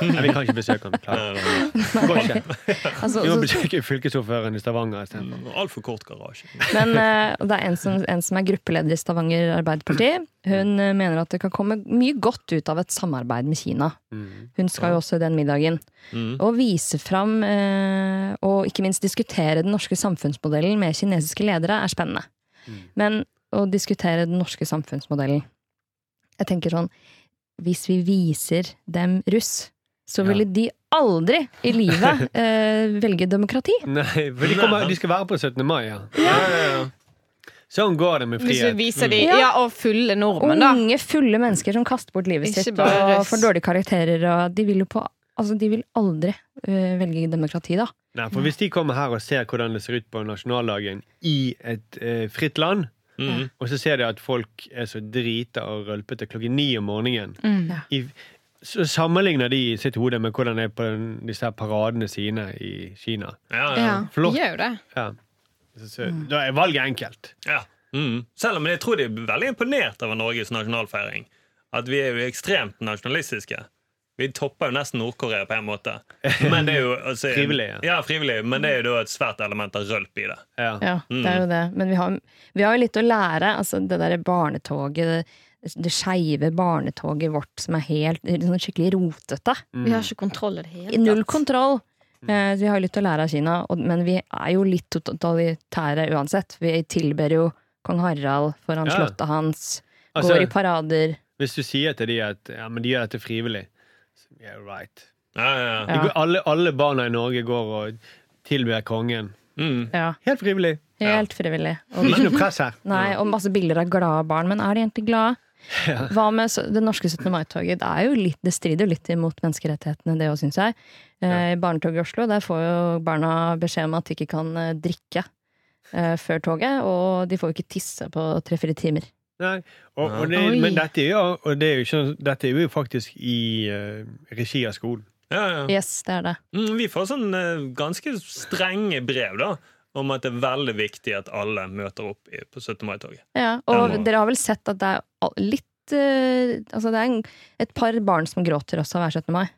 Speaker 2: Nei, vi kan ikke besøke ham. Klar.
Speaker 3: Nei, nei,
Speaker 2: Går ikke.
Speaker 6: Altså,
Speaker 2: Vi må
Speaker 6: så,
Speaker 2: besøke fylkesordføreren i Stavanger istedenfor.
Speaker 3: nei. Altfor Mm. kort garasje.
Speaker 6: men eh, og det er en som, en som er gruppeleder i Stavanger Arbeiderparti. Hun eh, mener at det kan komme mye godt ut av et samarbeid med Kina.
Speaker 2: Mm.
Speaker 6: Hun skal jo også i den middagen.
Speaker 3: Mm.
Speaker 6: Å vise fram eh, og ikke minst diskutere den norske samfunnsmodellen med kinesiske ledere er spennende. Men å diskutere den norske samfunnsmodellen Jeg tenker sånn Hvis vi viser dem russ, så ville de aldri i livet eh, velge demokrati.
Speaker 2: Nei, for de, kommer, de skal være på 17. mai, ja.
Speaker 3: Ja, ja, ja.
Speaker 2: Sånn går det med
Speaker 5: Hvis vi
Speaker 2: frihet.
Speaker 5: viser de
Speaker 6: Ja.
Speaker 5: Ja, Oh. og fulle nordmenn, da.
Speaker 6: Unge, fulle mennesker som kaster bort livet
Speaker 5: Ikke
Speaker 6: sitt
Speaker 5: bare
Speaker 6: og
Speaker 5: russ.
Speaker 6: får dårlige karakterer. Og de, vil jo på, altså, de vil aldri eh, velge demokrati, da.
Speaker 2: Nei, for hvis de kommer her og ser hvordan det ser ut på nasjonaldagen i et eh, fritt land,
Speaker 3: Mm.
Speaker 2: og så ser de at folk er så drita og rølpete klokken ni om morgenen
Speaker 5: Mm.
Speaker 2: i, Så sammenligner de i sitt hode med hvordan det er på den, disse her paradene sine i Kina.
Speaker 3: Ja,
Speaker 5: Ja,
Speaker 3: ja.
Speaker 5: de
Speaker 2: Flott.
Speaker 5: gjør jo det.
Speaker 2: Ja. Så, så, da er valget enkelt.
Speaker 3: ja. Mm. Selv om jeg tror de er veldig imponert over Norges nasjonalfeiring. At vi er jo ekstremt nasjonalistiske. Vi topper jo nesten Nord-Korea på en måte. Men det er jo, altså,
Speaker 2: Frivillig, ja.
Speaker 3: Ja, frivillig. Men det er jo da et svært element av rølp i det.
Speaker 2: Ja.
Speaker 6: Ja, det er jo det. Men vi har, vi har jo litt å lære. Altså, det derre barnetoget, det, det skeive barnetoget vårt som er helt sånn skikkelig rotete.
Speaker 2: Mm.
Speaker 5: Vi har ikke kontroll i det hele
Speaker 6: Null kontroll. Eh, så vi har jo litt å lære av Kina, og, men vi er jo litt totalitære uansett. Vi tilber jo kong Harald foran
Speaker 2: Ja.
Speaker 6: slottet hans.
Speaker 2: Altså-
Speaker 6: går i parader.
Speaker 2: Hvis du sier til de at ja, men de gjør dette frivillig så, Yeah, right.
Speaker 3: Ja, ja, ja.
Speaker 2: De
Speaker 6: Ja.
Speaker 2: Går, alle, alle barna i Norge går og tilber kongen.
Speaker 3: Mm.
Speaker 6: Ja.
Speaker 2: Helt frivillig.
Speaker 6: Helt frivillig. Og,
Speaker 2: Ikke noe press her.
Speaker 6: nei, og masse bilder av glade barn. Men er de egentlig glade?
Speaker 2: Ja.
Speaker 6: Hva med så- det norske 17. mai-toget? Det, er jo litt- det strider jo litt imot menneskerettighetene, det òg, syns jeg. Eh, i Barnetoget i Oslo, der får jo barna beskjed om at de ikke kan eh, drikke eh, før toget. Og de får jo ikke tisse på tre-fire timer.
Speaker 2: Nei, og, og det,
Speaker 5: Oi.
Speaker 2: men dette er, jo, og det er jo ikke, dette er jo faktisk i eh, regi av skolen.
Speaker 3: Ja, ja.
Speaker 6: Yes, det er det.
Speaker 3: Mm, Vi får sånn eh, ganske strenge brev da om at det er veldig viktig at alle møter opp i- på 17. mai-toget.
Speaker 6: Ja, og
Speaker 3: Den må-
Speaker 6: dere har vel sett at det er al- litt eh, Altså det er en, et par barn som gråter også hver 17. mai.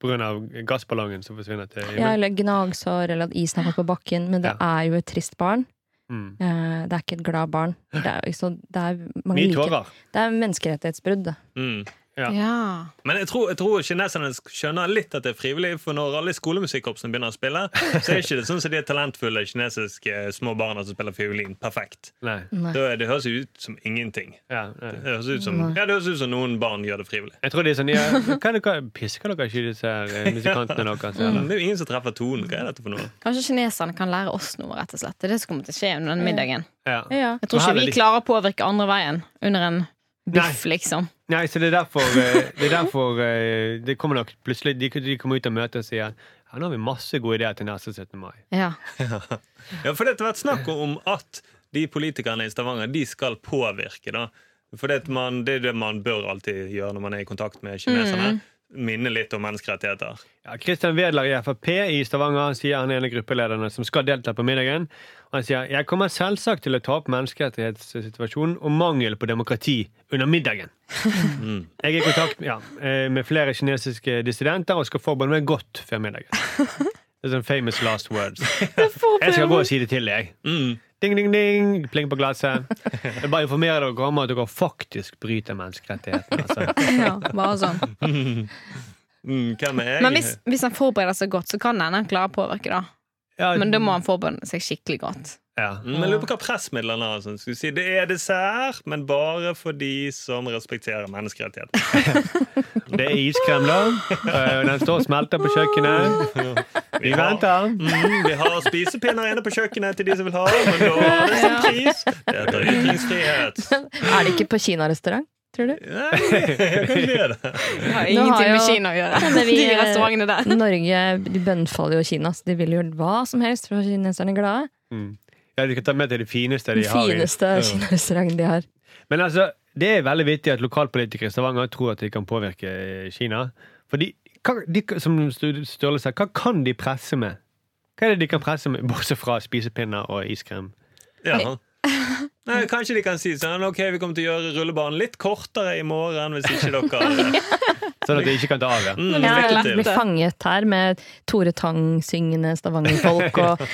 Speaker 2: På grunn av gassballongen som forsvinner til
Speaker 6: Ja, eller gnagsår, eller at isen har fått på bakken. Men det er jo et trist barn.
Speaker 2: Mm.
Speaker 6: Eh, Det er ikke et glad barn. Det er, så det er mange
Speaker 2: Mye
Speaker 6: like-
Speaker 2: tårer.
Speaker 6: Det er menneskerettighetsbrudd. det.
Speaker 3: Mm.
Speaker 2: Ja.
Speaker 5: Ja.
Speaker 3: Men jeg tror, jeg tror kineserne sk- skjønner litt at det er frivillig, for når alle i skolemusikkorpsene begynner å spille, så er ikke det sånn som de talentfulle kinesiske eh, små barna som spiller fiolin, perfekt.
Speaker 2: Nei.
Speaker 6: Nei.
Speaker 3: Da er, det høres jo ut som ingenting.
Speaker 2: Ja,
Speaker 3: Det
Speaker 2: nei.
Speaker 3: høres ut som,
Speaker 6: Nei.
Speaker 3: ja, det høres ut som noen barn gjør det frivillig.
Speaker 2: Jeg tror de er sånn ja, hva er dere, Pisker dere ikke i disse her eh, musikantene deres?
Speaker 5: [laughs] Mm.
Speaker 3: Det
Speaker 2: Eller?
Speaker 3: er jo ingen som treffer tonen. Hva er dette for noe?
Speaker 5: Kanskje kineserne kan lære oss noe, rett og slett. Det er det som kommer til å skje under den middagen.
Speaker 2: Ja.
Speaker 6: Ja.
Speaker 5: Jeg
Speaker 2: Og
Speaker 5: tror
Speaker 2: her
Speaker 5: ikke
Speaker 2: er
Speaker 5: vi
Speaker 2: det-
Speaker 5: klarer å påvirke andre veien under en biff, liksom.
Speaker 2: Nei, så det er derfor, eh, det, er derfor eh, det kommer nok plutselig De, de kommer ut og møter og sier ja, nå har vi masse gode ideer til neste 17. mai.
Speaker 5: Ja.
Speaker 3: Ja, for det har vært snakk om at de politikerne i Stavanger de skal påvirke. da. For det, at man, det er det man bør alltid gjøre når man er i kontakt med kineserne.
Speaker 5: Mm.
Speaker 3: Minne litt om menneskerettigheter.
Speaker 2: Ja, Christian Wedler i Frp i Stavanger sier han er en av gruppelederne som skal delta på middagen. Han sier jeg kommer selvsagt til å ta opp menneskerettighetssituasjonen og mangel på demokrati under middagen. Jeg er i kontakt ja, eh, med flere kinesiske dissidenter og skal forberede meg godt før middagen. Det er sånn famous last words. Jeg skal gå og si det til deg.
Speaker 3: Mm.
Speaker 2: Ding, ding, ding, pling på glasset. Jeg bare informerer dere om at dere faktisk bryter menneskerettighetene. Altså.
Speaker 5: [laughs] ja, bare sånn.
Speaker 3: Mm, hvem er jeg?
Speaker 5: Men hvis, hvis han forbereder seg godt, så kan det hende han klarer å påvirke, da.
Speaker 2: Ja,
Speaker 5: Men da må han forberede seg skikkelig godt.
Speaker 2: ja.
Speaker 3: Mm, jeg lurer på hva pressmidlene har. Sånn. Skal vi si, det er dessert, men bare for de som respekterer
Speaker 2: [laughs]
Speaker 3: menneskerettighetene.
Speaker 2: Det er iskrem, da. Eh, Den står og smelter på kjøkkenet. Vi venter.
Speaker 3: Mm, vi har spisepinner inne på kjøkkenet til de som vil ha, men da er det sånn pris. Det heter ytringsfrihet.
Speaker 5: [laughs]
Speaker 6: Er det ikke på kinarestaurant, tror du?
Speaker 3: Nei, kanskje det er det.
Speaker 5: Det har
Speaker 6: Nå har
Speaker 5: ingenting med
Speaker 6: jo-
Speaker 5: Kina å gjøre.
Speaker 6: men vi-
Speaker 5: [laughs] De restaurantene der.
Speaker 6: Norge de bønnfaller jo Kina, så de vil gjøre hva som helst for å gjøre kineserne glade.
Speaker 2: Ja, de kan ta med til det fineste de
Speaker 6: Den
Speaker 2: har. i-
Speaker 6: fineste kinarestauranten de har.
Speaker 2: Men altså, det er veldig vittig at lokalpolitikere i Stavanger tror at de kan påvirke eh, Kina. For de, hva, de som Sturle sa, hva kan de presse med? Hva er det de kan presse med, bortsett fra spisepinner og iskrem?
Speaker 3: Ja. [laughs] Nei, kanskje de kan si sånn Ok, vi kommer til å gjøre rullebanen litt kortere i morgen hvis ikke dere
Speaker 2: Sånn at de ikke kan ta av. Ja.
Speaker 3: mm,
Speaker 5: Ja,
Speaker 3: lykke
Speaker 6: Blir
Speaker 3: til.
Speaker 6: fanget her med Tore Tang-syngende stavangerfolk
Speaker 2: [laughs]
Speaker 6: og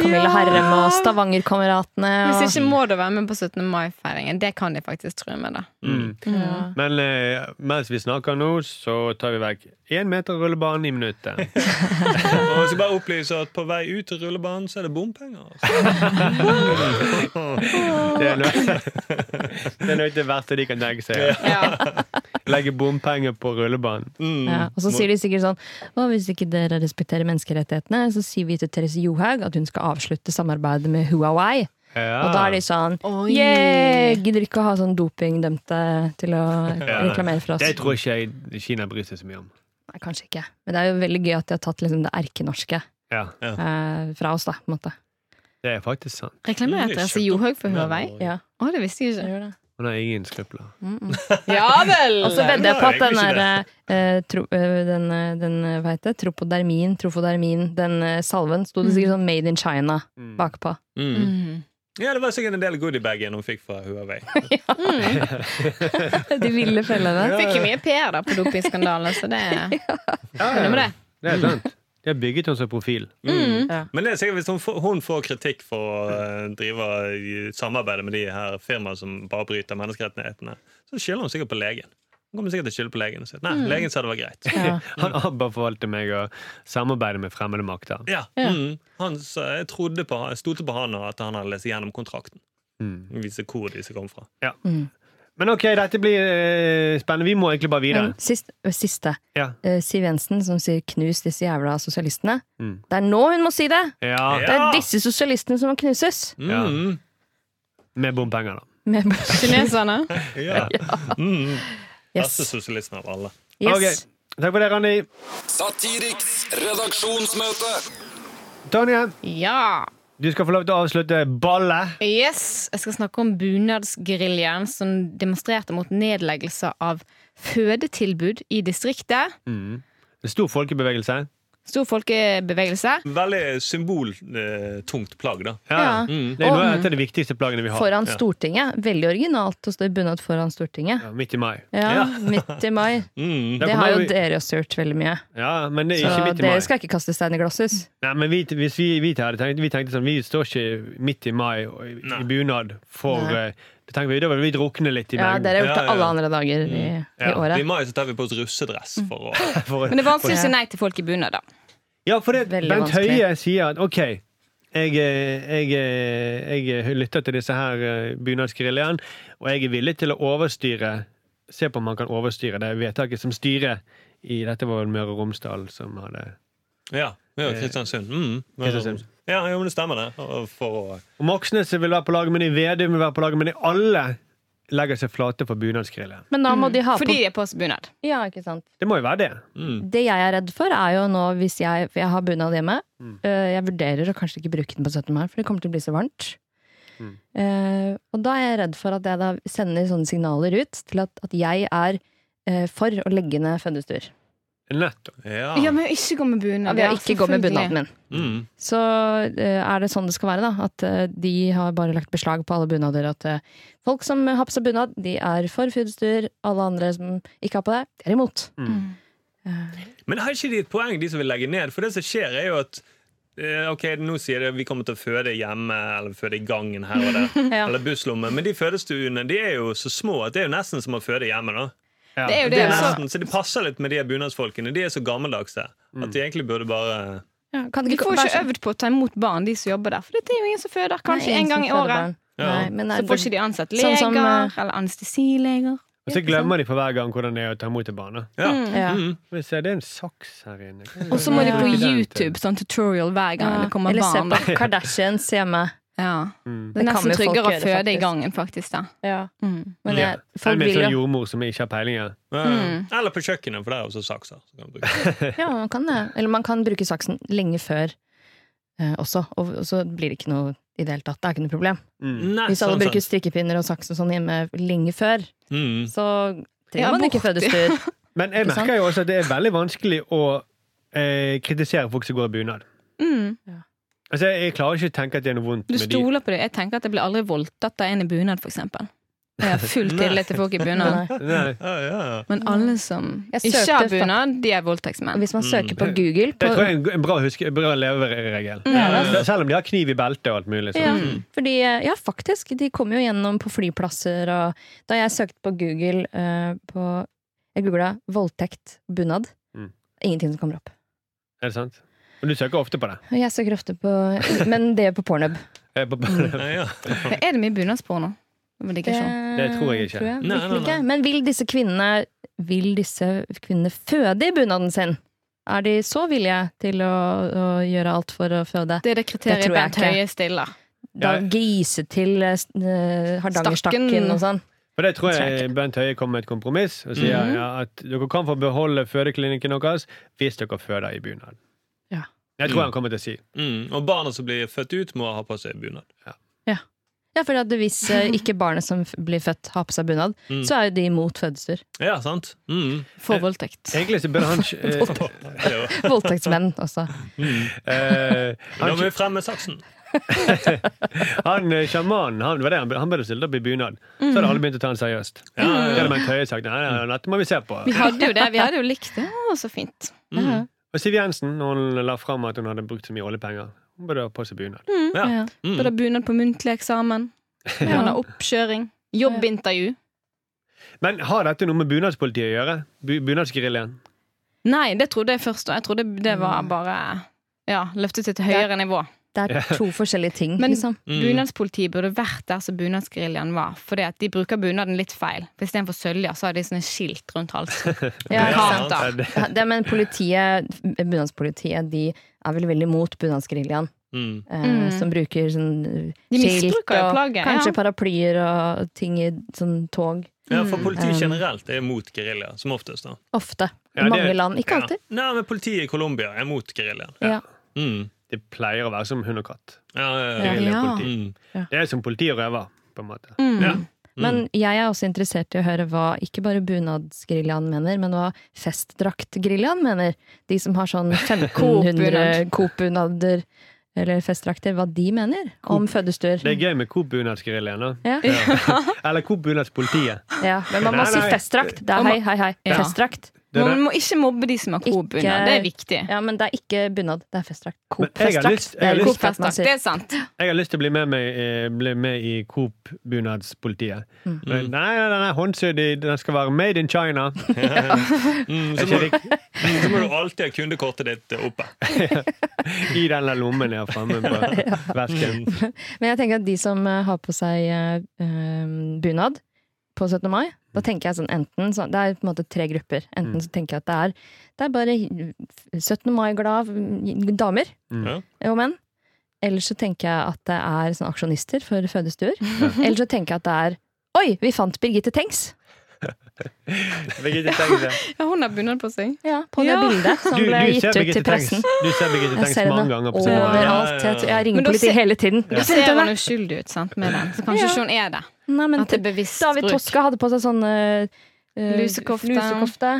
Speaker 6: Camilla Herrem og Stavangerkameratene. og-
Speaker 5: Hvis ikke må det være med på 17. mai-feiringen. Det kan de faktisk tro med, da.
Speaker 2: [laughs] Mm. Men eh, mens vi snakker nå, så tar vi vekk én meter rullebane i minuttet.
Speaker 3: Og jeg skal bare opplyse at på vei ut til rullebanen så er det bompenger.
Speaker 2: Det er noe, [laughs] det er noe av det verste de kan tenke seg. [laughs] Legge bompenger på rullebanen.
Speaker 6: Ja, og så sier de sikkert sånn Å, hvis ikke dere respekterer menneskerettighetene, så sier vi til Therese Johaug at hun skal avslutte samarbeidet med Huawei.
Speaker 2: Ja.
Speaker 6: Og da er de sånn
Speaker 5: Oi.
Speaker 6: Yeah! Gidder ikke å ha sånn dopingdømte til å reklamere for oss.
Speaker 2: Det tror ikke jeg Kina bryr seg så mye om.
Speaker 6: Nei, kanskje ikke. Men det er jo veldig gøy at de har tatt liksom, det erkenorske
Speaker 2: Ja,
Speaker 6: eh, fra oss, da, på en måte.
Speaker 2: Det er faktisk sant.
Speaker 5: Reklamerte Therese Johaug for Huawei?
Speaker 6: Ja,
Speaker 5: Å, det visste jeg
Speaker 6: det
Speaker 5: ikke.
Speaker 6: gjør det. Mm.
Speaker 2: Hun har ingen skrupler.
Speaker 5: Ja vel! Altså,
Speaker 6: Og så vedder jeg på
Speaker 3: Nei,
Speaker 6: at den
Speaker 3: egentlig
Speaker 6: der eh, tro, eh, den, eh, den, eh, hva heter det, tropodermin, trofodermin, den eh, salven, sto det sikkert sånn Made in China [laughs] bakpå.
Speaker 3: Mm. Ja, det var sikkert en del goodiebagen hun fikk fra Huawei.
Speaker 6: De ville fellene.
Speaker 5: Fikk jo mye PR da på dopingskandalen, så det Hva med det?
Speaker 2: Det er sant. [laughs] De har bygget henne som profil.
Speaker 3: Mm. Men det er sikkert hvis hun får, hun får kritikk for å eh, drive i samarbeid med de her firmaene som bare bryter menneskerettighetene, så skylder hun sikkert på legen. Hun kommer sikkert til å skylde på legen. og si, Nei, legen sa det var greit.
Speaker 6: Ja.
Speaker 2: Han anbefalte meg å samarbeide med fremmede makter.
Speaker 3: Ja, Mm. Han, sa- jeg trodde på, jeg stolte på han og at han hadde lest gjennom kontrakten.
Speaker 2: Mm.
Speaker 3: Vise hvor disse kom fra.
Speaker 2: Ja. Men ok, dette blir eh, spennende. Vi må egentlig bare videre.
Speaker 6: Men Eh, sist, ø, siste.
Speaker 2: Ja.
Speaker 6: Eh, Siv Jensen som sier 'knus disse jævla sosialistene'.
Speaker 2: Mm.
Speaker 6: Det er nå hun må si det!
Speaker 2: Ja,
Speaker 3: Ja.
Speaker 6: Det er disse sosialistene som må knuses! [laughs]
Speaker 3: Mm,
Speaker 2: Med bompenger, da.
Speaker 6: Med
Speaker 5: Kineserne.
Speaker 3: ja. Mm, Beste
Speaker 6: yes.
Speaker 3: sosialisten av alle.
Speaker 6: yes.
Speaker 2: Ok, Takk for det, Randi.
Speaker 4: Satiriks redaksjonsmøte.
Speaker 2: Tonje,
Speaker 5: Ja.
Speaker 2: du skal få lov til å avslutte ballet.
Speaker 5: Yes, Jeg skal snakke om bunadsgeriljaen som demonstrerte mot nedleggelse av fødetilbud i distriktet.
Speaker 2: Stor folkebevegelse.
Speaker 5: Stor folkebevegelse.
Speaker 3: Veldig symboltungt plagg, da.
Speaker 5: Ja. Mm.
Speaker 2: Det er noe
Speaker 6: Mm. Og-
Speaker 2: et av de viktigste plaggene vi har.
Speaker 6: Foran
Speaker 3: Ja.
Speaker 6: Stortinget. Veldig originalt å stå i bunad foran Stortinget.
Speaker 2: Ja, midt i mai.
Speaker 6: Ja, midt i mai.
Speaker 3: [laughs] Mm.
Speaker 2: Da
Speaker 6: Det
Speaker 2: kommer
Speaker 6: har jo
Speaker 2: vi-
Speaker 6: dere også gjort veldig mye.
Speaker 2: Ja, men det er
Speaker 6: Så
Speaker 2: ikke midt i mai.
Speaker 6: dere skal ikke kaste stein i glasshus.
Speaker 2: Nei, men vi, hvis vi, vi, hadde tenkt, vi tenkte sånn, vi står ikke midt i mai og i, i
Speaker 3: Nei.
Speaker 2: bunad for
Speaker 6: Nei.
Speaker 2: eh, Da tenker vi, da vil vi drukne litt i
Speaker 6: Ja,
Speaker 2: mengden.
Speaker 6: dere har
Speaker 3: Ja,
Speaker 6: gjort det
Speaker 3: ja,
Speaker 6: alle
Speaker 3: ja.
Speaker 6: andre dager i, i
Speaker 3: Ja. I
Speaker 6: året.
Speaker 3: mai så tar vi på oss russedress for å [laughs]
Speaker 2: For,
Speaker 5: Men det er vanskelig å
Speaker 6: Ja.
Speaker 5: si nei til folk i bunad, da.
Speaker 2: ja, for det,
Speaker 6: Veldig
Speaker 2: Bent
Speaker 6: vanskelig.
Speaker 2: Høie sier at OK, jeg, eh, jeg, eh, jeg lytter til disse her eh, bunadsgeriljaen, og jeg er villig til å overstyre Se på om man kan overstyre det vedtaket som styret i Dette var vel Møre og Romsdal som hadde
Speaker 3: Ja. ja Kristiansund. Mm.
Speaker 2: Eh, Kristiansund.
Speaker 3: Ja, jo, men det stemmer, det. For å
Speaker 2: Og Moxnes vil være på laget, men i Vedum vil være på laget, men i alle legger seg flate for bunadsgeriljaen.
Speaker 6: Men da må de ha
Speaker 5: Fordi de er på seg bunad.
Speaker 6: på Ja, ikke sant.
Speaker 2: Det må jo være det.
Speaker 3: mm.
Speaker 6: Det jeg er redd for, er jo nå hvis jeg For jeg har bunad hjemme. Øh, Jeg vurderer å kanskje ikke bruke den på 17. mai, for det kommer til å bli så varmt. Eh, og da er jeg redd for at jeg da sender sånne signaler ut til at, at jeg er eh, for å legge ned fødestuer.
Speaker 2: Nettopp.
Speaker 3: Ja.
Speaker 5: Ja, men ikke gå med bunad.
Speaker 6: Jeg vil ikke gå med bunaden min.
Speaker 3: Mm.
Speaker 6: Så eh, er det sånn det skal være, da. At eh, de har bare lagt beslag på alle bunader. At eh, folk som har på seg bunad, de er for fødestuer. Alle andre som ikke har på det, de er imot.
Speaker 5: Mm.
Speaker 3: Men har ikke de et poeng, de som vil legge ned? For det som skjer, er jo at eh, Ok, nå sier de at vi kommer til å føde hjemme, eller føde i gangen her og der.
Speaker 6: Ja.
Speaker 3: Eller busslommen. Men de fødestuene de er jo så små at det er jo nesten som å føde hjemme. da
Speaker 2: Ja.
Speaker 5: Det er jo
Speaker 3: det
Speaker 5: det.
Speaker 3: er
Speaker 5: Så,
Speaker 3: nesten, Så det passer litt med de bunadsfolkene. De er så gammeldagse at de egentlig burde bare
Speaker 6: Ja, kan det
Speaker 5: de
Speaker 6: ikke
Speaker 5: får
Speaker 6: være
Speaker 5: ikke
Speaker 6: så-
Speaker 5: øvd på å ta imot barn, de som jobber der. For det er jo ingen som føder. Kanskje
Speaker 6: Nei,
Speaker 5: en gang i
Speaker 6: som føder
Speaker 5: året.
Speaker 6: barn. Nei, men
Speaker 5: Så
Speaker 6: er
Speaker 5: får
Speaker 6: det-
Speaker 5: ikke de ansatt
Speaker 6: Sånn
Speaker 5: leger
Speaker 6: som, eh,
Speaker 5: eller anestesileger.
Speaker 2: Og så glemmer de for hver gang hvordan det er å ta imot et barn. da.
Speaker 3: Ja.
Speaker 6: Ja.
Speaker 3: Mm.
Speaker 2: Skal vi se, det er en saks her inne. Hva er det?
Speaker 5: Og så må de
Speaker 6: Ja.
Speaker 5: på
Speaker 2: Den til.
Speaker 5: YouTube sånn tutorial hver gang det kommer
Speaker 6: Eller
Speaker 5: barn.
Speaker 6: se
Speaker 5: da.
Speaker 6: på Kardashians hjemme.
Speaker 5: Ja.
Speaker 2: Mm.
Speaker 5: Det er
Speaker 6: Det kan
Speaker 5: nesten
Speaker 6: jo folk
Speaker 5: tryggere å
Speaker 6: gjøre,
Speaker 5: føde i
Speaker 6: faktisk.
Speaker 5: gangen, faktisk. da. Mm.
Speaker 2: Ja.
Speaker 6: Men jeg, folk
Speaker 2: Eller med
Speaker 6: vil
Speaker 2: sånn
Speaker 6: jo
Speaker 2: jordmor som ikke har peiling. ja.
Speaker 3: Ja.
Speaker 5: Mm.
Speaker 3: Eller på kjøkkenet, for der er også sakser. Så kan du bruke.
Speaker 6: Ja, man kan det. Eller man kan bruke saksen lenge før eh, også, og, og så blir det ikke noe i det hele tatt. Det er ikke noe problem.
Speaker 2: Mm.
Speaker 3: Nei,
Speaker 6: Hvis alle
Speaker 3: sånn,
Speaker 6: bruker
Speaker 3: sånn.
Speaker 6: strikkepinner og saks og sånn hjemme lenge før,
Speaker 3: Mm.
Speaker 6: så trenger
Speaker 5: Ja,
Speaker 6: man ikke
Speaker 5: borti.
Speaker 6: fødestuer.
Speaker 5: [laughs]
Speaker 2: Men jeg
Speaker 6: Ikke sant?
Speaker 2: merker jo også at det er veldig vanskelig å eh, kritisere folk som går i bunad.
Speaker 5: Mm.
Speaker 2: Altså, jeg, jeg klarer ikke å tenke at det er noe vondt
Speaker 5: Du
Speaker 2: med de.
Speaker 5: stoler på det. Jeg tenker at jeg blir aldri voldtatt av en i bunad, f.eks. Jeg har full
Speaker 3: Nei.
Speaker 5: tillit til folk i bunad.
Speaker 6: Nei.
Speaker 2: Nei.
Speaker 3: Ja, ja.
Speaker 5: Men alle som
Speaker 6: Jeg
Speaker 5: ikke
Speaker 6: søkte
Speaker 5: har
Speaker 6: fakt-
Speaker 5: bunad, de er voldtektsmenn.
Speaker 6: Hvis man søker på Google
Speaker 2: Mm.
Speaker 6: på
Speaker 2: Det tror jeg er en- en bra, huske, bra leveregel.
Speaker 5: Mm.
Speaker 6: Ja.
Speaker 2: Selv om de har kniv i beltet og alt mulig. Så.
Speaker 6: ja, fordi, eh, ja, faktisk. De kommer jo gjennom på flyplasser og Da jeg søkte på Google eh, på Jeg googla 'voldtekt bunad'.
Speaker 2: Mm.
Speaker 6: Ingenting som kommer opp.
Speaker 2: Er det sant? Og du søker ofte på det.
Speaker 6: Og Jeg søker ofte på Men det er på pornhub.
Speaker 2: Eh, på-
Speaker 3: Ja, ja.
Speaker 5: Men Er det mye bunadsporno? Det var det ikke sånn.
Speaker 2: Det tror jeg ikke.
Speaker 6: Tror jeg.
Speaker 3: Nei,
Speaker 6: Virkelig
Speaker 3: nei, nei.
Speaker 6: ikke. Men vil disse kvinnene Vil disse kvinnene føde i bunaden sin? Er de så villige til å, å gjøre alt for å føde?
Speaker 5: Det er det
Speaker 6: Det
Speaker 5: kriteriet
Speaker 6: tror jeg
Speaker 5: Bent
Speaker 6: ikke.
Speaker 5: Høie stiller.
Speaker 6: Da grise til eh, s- eh, Hardangerstakken
Speaker 5: Stakken.
Speaker 6: og sånn?
Speaker 2: For det tror
Speaker 6: Jeg tror
Speaker 2: jeg Bent Høie kom med et kompromiss og sier ja, at dere kan få beholde fødeklinikken deres hvis dere føder i bunad.
Speaker 6: Ja.
Speaker 2: Jeg tror han kommer til å si.
Speaker 3: Mm. Og barna som blir født ut, må ha på seg bunad.
Speaker 6: Ja, for at hvis eh, ikke barnet som f- blir født, har på seg bunad,
Speaker 3: Mm.
Speaker 6: så er jo de imot fødsler.
Speaker 3: Ja, sant? Mm.
Speaker 2: Eh,
Speaker 5: For voldtekt.
Speaker 2: Egentlig så burde han eh,
Speaker 3: Ja.
Speaker 6: Voldtektsmenn også.
Speaker 2: eh,
Speaker 3: Nå må
Speaker 2: han,
Speaker 3: vi fremme saksen.
Speaker 2: han eh, sjamanen han, det var det han, burde- han burde stilt opp i bunad.
Speaker 5: Mm.
Speaker 2: Så
Speaker 5: Mhm.
Speaker 2: hadde alle begynt å ta han seriøst.
Speaker 3: Ja, ja, ja.
Speaker 2: Det hadde Bent Høie sagt nei, nei, nei, dette må vi se på.
Speaker 5: Vi hadde jo det. Vi hadde jo likt det. Å, så fint.
Speaker 6: Ja,
Speaker 2: Og Siv Jensen når hun la fram at hun hadde brukt så mye oljepenger. Hun burde ha på seg bunad.
Speaker 3: Ja.
Speaker 6: ja.
Speaker 3: Mm.
Speaker 5: Burde ha bunad på muntlig eksamen.
Speaker 2: [laughs]
Speaker 5: Man har oppkjøring. Jobbintervju.
Speaker 2: Men har dette noe med bunadspolitiet å gjøre? Bu Bunadsgeriljaen? Mm.
Speaker 5: Nei, det trodde jeg først. Og jeg trodde det var bare ja, løftet til et høyere nivå.
Speaker 6: Det er to forskjellige ting.
Speaker 5: Men
Speaker 6: liksom.
Speaker 2: Mm.
Speaker 5: bunadspolitiet burde vært der som bunadsgeriljaen var. Fordi at de bruker bunaden litt feil. For Istedenfor sølja så har de sånne skilt rundt halsen.
Speaker 6: Ja, ikke sant?
Speaker 5: Plakater.
Speaker 2: det,
Speaker 6: Ja, det, men politiet, bunadspolitiet, de er vel veldig mot bunadsgeriljaen.
Speaker 3: Mm.
Speaker 6: Eh,
Speaker 5: Mm.
Speaker 6: Som bruker sånn eh,
Speaker 5: De misbruker
Speaker 6: skilt
Speaker 5: jo
Speaker 6: og
Speaker 5: plagget, ja.
Speaker 6: kanskje paraplyer og ting i sånn tog.
Speaker 3: Ja, for
Speaker 6: Mm.
Speaker 3: politiet generelt er mot gerilja, som oftest. da.
Speaker 6: Ofte.
Speaker 2: Ja,
Speaker 6: I
Speaker 2: det-
Speaker 6: mange land. Ikke alltid.
Speaker 3: Ja. Nei, men politiet i Colombia er mot geriljaen.
Speaker 6: Ja.
Speaker 3: Mm.
Speaker 2: det pleier å være som hund og katt.
Speaker 3: Ja, ja, ja.
Speaker 6: Ja.
Speaker 2: Gerilja og
Speaker 5: Ja.
Speaker 2: politi.
Speaker 3: Mm.
Speaker 2: Det er som politi og røver, på en måte.
Speaker 5: Mm.
Speaker 3: Ja.
Speaker 6: Men jeg er også interessert i å høre hva ikke bare bunadsgeriljaen mener, men hva festdraktgeriljaen mener. De som har
Speaker 2: [laughs]
Speaker 6: sånn 1500 Coop-bunader eller festdrakter, hva de mener om fødestuer.
Speaker 2: Det er gøy med Coop-bunadsgeriljaen. da.
Speaker 6: [laughs] Ja.
Speaker 2: Eller Coop-bunadspolitiet.
Speaker 6: ja, men man må
Speaker 2: Nei,
Speaker 6: si
Speaker 2: nei.
Speaker 6: festdrakt. Det er hei, hei, hei.
Speaker 5: Ja.
Speaker 6: Festdrakt.
Speaker 2: [laughs] Det er
Speaker 5: Man
Speaker 6: Mm.
Speaker 2: det.
Speaker 5: må ikke mobbe de som har Coop-bunad.
Speaker 6: Ikke-
Speaker 5: Det er viktig.
Speaker 6: Ja, men det er ikke bunad, det er festdrakt.
Speaker 2: Men jeg har
Speaker 6: Coop-festdrakt.
Speaker 2: lyst- jeg har
Speaker 6: Det er
Speaker 2: lyst-
Speaker 6: Coop-fest man
Speaker 5: Det
Speaker 6: sier.
Speaker 5: er sant.
Speaker 2: Jeg har lyst til å bli med, meg, eh, bli med i Coop-bunadspolitiet.
Speaker 6: Mm.
Speaker 2: Men Nei, den er håndsydd i Den skal være made in China.
Speaker 3: Mm,
Speaker 2: Er
Speaker 3: så, må,
Speaker 2: ikke det ikke
Speaker 3: mm, så må du alltid ha kundekortet ditt oppe.
Speaker 2: I den der lommen jeg har framme
Speaker 6: [laughs]
Speaker 2: på vesken.
Speaker 6: Men jeg tenker at de som eh, har på seg eh, eh, bunad på 17. mai, da
Speaker 2: Mm.
Speaker 6: tenker jeg sånn enten sånn- Det er på en måte tre grupper. Enten så tenker jeg at det er, det er bare 17. mai-glad mm, damer
Speaker 2: Mm.
Speaker 3: Ja.
Speaker 6: og menn. Eller så tenker jeg at det er sånn aksjonister for fødestuer. [laughs] Eller så tenker jeg at det er Oi, vi fant Birgitte Tengs!
Speaker 2: Birgitte Tengs, ja.
Speaker 5: [laughs] Ja, hun har bunad på seg.
Speaker 6: Ja, på det
Speaker 5: Ja.
Speaker 6: bildet som
Speaker 2: Du,
Speaker 6: ble
Speaker 2: du
Speaker 6: gitt
Speaker 2: ser
Speaker 6: ut til
Speaker 2: Birgitte Tengs
Speaker 6: pressen.
Speaker 2: Du ser Birgitte
Speaker 6: Jeg
Speaker 2: Tengs
Speaker 6: ser
Speaker 2: mange
Speaker 6: henne
Speaker 2: ganger på sommeren.
Speaker 3: Ja, ja, ja.
Speaker 6: overalt. Jeg, tror- jeg ringer
Speaker 5: Men da
Speaker 6: politiet
Speaker 5: ser-
Speaker 6: hele tiden.
Speaker 5: Da ser hun uskyldig ut sant, med den. Så kanskje
Speaker 6: Ja.
Speaker 5: ikke hun er det.
Speaker 6: Nei, men
Speaker 5: At det er bevisst
Speaker 6: David
Speaker 5: bruk.
Speaker 6: Toska hadde på seg sånn eh, eh,
Speaker 5: Lusekofte.
Speaker 6: lusekofte.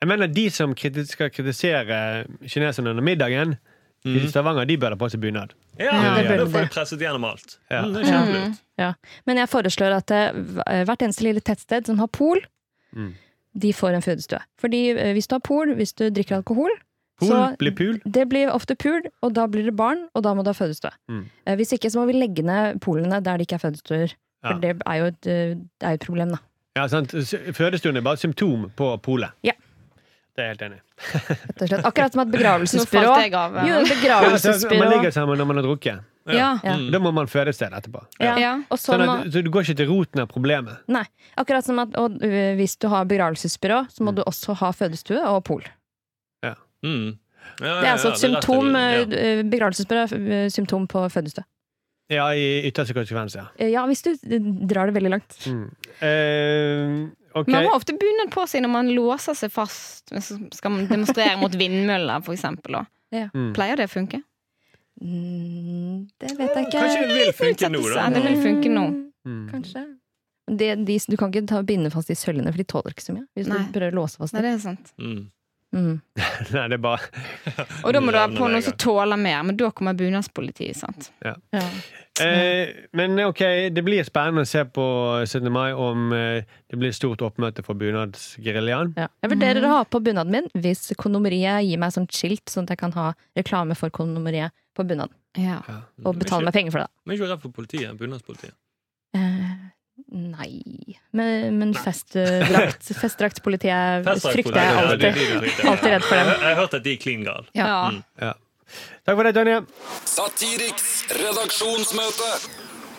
Speaker 2: Jeg mener De som kriti skal kritisere kineserne under middagen i Stavanger, de bør ha på seg bunad.
Speaker 3: Ja,
Speaker 6: Ja, det
Speaker 3: ja,
Speaker 6: burde
Speaker 3: da får
Speaker 6: det.
Speaker 3: du presset gjennom alt.
Speaker 2: Ja.
Speaker 3: Mm, det er kjempelurt.
Speaker 6: Ja. Men jeg foreslår at eh, hvert eneste lille tettsted som har pol,
Speaker 2: Mm.
Speaker 6: de får en fødestue. Fordi eh, hvis du har pol, hvis du drikker alkohol,
Speaker 2: Pol
Speaker 6: så
Speaker 2: blir pul.
Speaker 6: det blir ofte pul, og da blir det barn, og da må du ha fødestue.
Speaker 2: Mm.
Speaker 6: Eh, Hvis ikke så må vi legge ned polene der det ikke er fødestuer. For
Speaker 2: Ja.
Speaker 6: det er jo et, eh, det er jo et problem, da.
Speaker 2: Ja, sant? S- Fødestuen er bare et symptom på polet.
Speaker 6: Ja.
Speaker 2: Det er jeg helt enig i.
Speaker 6: Rett og slett. Akkurat som et
Speaker 5: Nå falt jeg
Speaker 6: begravelsesbyrå.
Speaker 5: av. eh.
Speaker 6: Jo, et
Speaker 2: Ja, altså, man
Speaker 6: begravelsesbyrå.
Speaker 2: ligger sammen når man har drukket.
Speaker 5: Ja.
Speaker 6: Ja.
Speaker 3: Mm.
Speaker 2: Da må man føde et sted etterpå.
Speaker 6: Ja.
Speaker 5: Ja.
Speaker 6: Og så
Speaker 2: Sånn
Speaker 6: må,
Speaker 2: at, så du går ikke til roten av problemet.
Speaker 6: nei. Akkurat som at og, eh, hvis du har begravelsesbyrå, så må du også ha fødestue og pol.
Speaker 3: Mm. Ja, ja,
Speaker 6: Det er
Speaker 3: ja,
Speaker 6: altså et
Speaker 3: rett og
Speaker 6: symptom,
Speaker 3: slett,
Speaker 6: eh, begravelsesbyrå er eh, symptom på fødestue.
Speaker 2: Ja, i ytterste konsekvens, ja.
Speaker 6: Eh, Ja, hvis du eh, drar det veldig langt.
Speaker 2: Mm. Eh, ok.
Speaker 5: Man må ofte bunad på seg når man låser seg fast. Hvis man Skal man demonstrere mot vindmøller, for eksempel. da.
Speaker 2: Mm.
Speaker 5: Pleier det å funke?
Speaker 6: Mm, det vet jeg
Speaker 3: ja.
Speaker 6: ikke.
Speaker 3: Kanskje det vil funke nå, da.
Speaker 5: Ja, det vil funke nå.
Speaker 2: Mm.
Speaker 6: Kanskje. Det, de, du kan ikke ta binde fast de søllene, for de tåler ikke så mye. Hvis
Speaker 5: Nei.
Speaker 6: du prøver å låse fast
Speaker 5: Nei,
Speaker 6: dem.
Speaker 5: det er sant.
Speaker 3: Mm.
Speaker 6: Mm.
Speaker 2: [laughs] Nei, det er bare
Speaker 5: Og da må du ha
Speaker 3: Levende
Speaker 5: på noe
Speaker 3: leger.
Speaker 5: som tåler mer, men da kommer bunadspolitiet, sant.
Speaker 6: Ja.
Speaker 2: Eh, men ok, det blir spennende å se på 17. mai om eh, det blir stort oppmøte for bunadsgeriljaen.
Speaker 6: Ja. Jeg vurderer å ha på bunaden min hvis kondomeriet gir meg sånt skilt, sånn at jeg kan ha reklame for kondomeriet på bunaden.
Speaker 5: Ja.
Speaker 6: Og betale meg penger for det.
Speaker 3: mm. Men ikke vær redd for politiet. Bunadspolitiet.
Speaker 6: da. Eh, nei Men, men festdrakt,
Speaker 2: [laughs]
Speaker 6: festdraktpolitiet frykter jeg
Speaker 3: Festdragspolitiet, ja,
Speaker 6: alltid.
Speaker 3: det er de du frykter.
Speaker 6: Alltid redd for dem.
Speaker 3: Jeg, jeg har hørt at de er klin gale.
Speaker 5: Ja.
Speaker 2: Takk for det, Tonje.
Speaker 4: Satiriks redaksjonsmøte.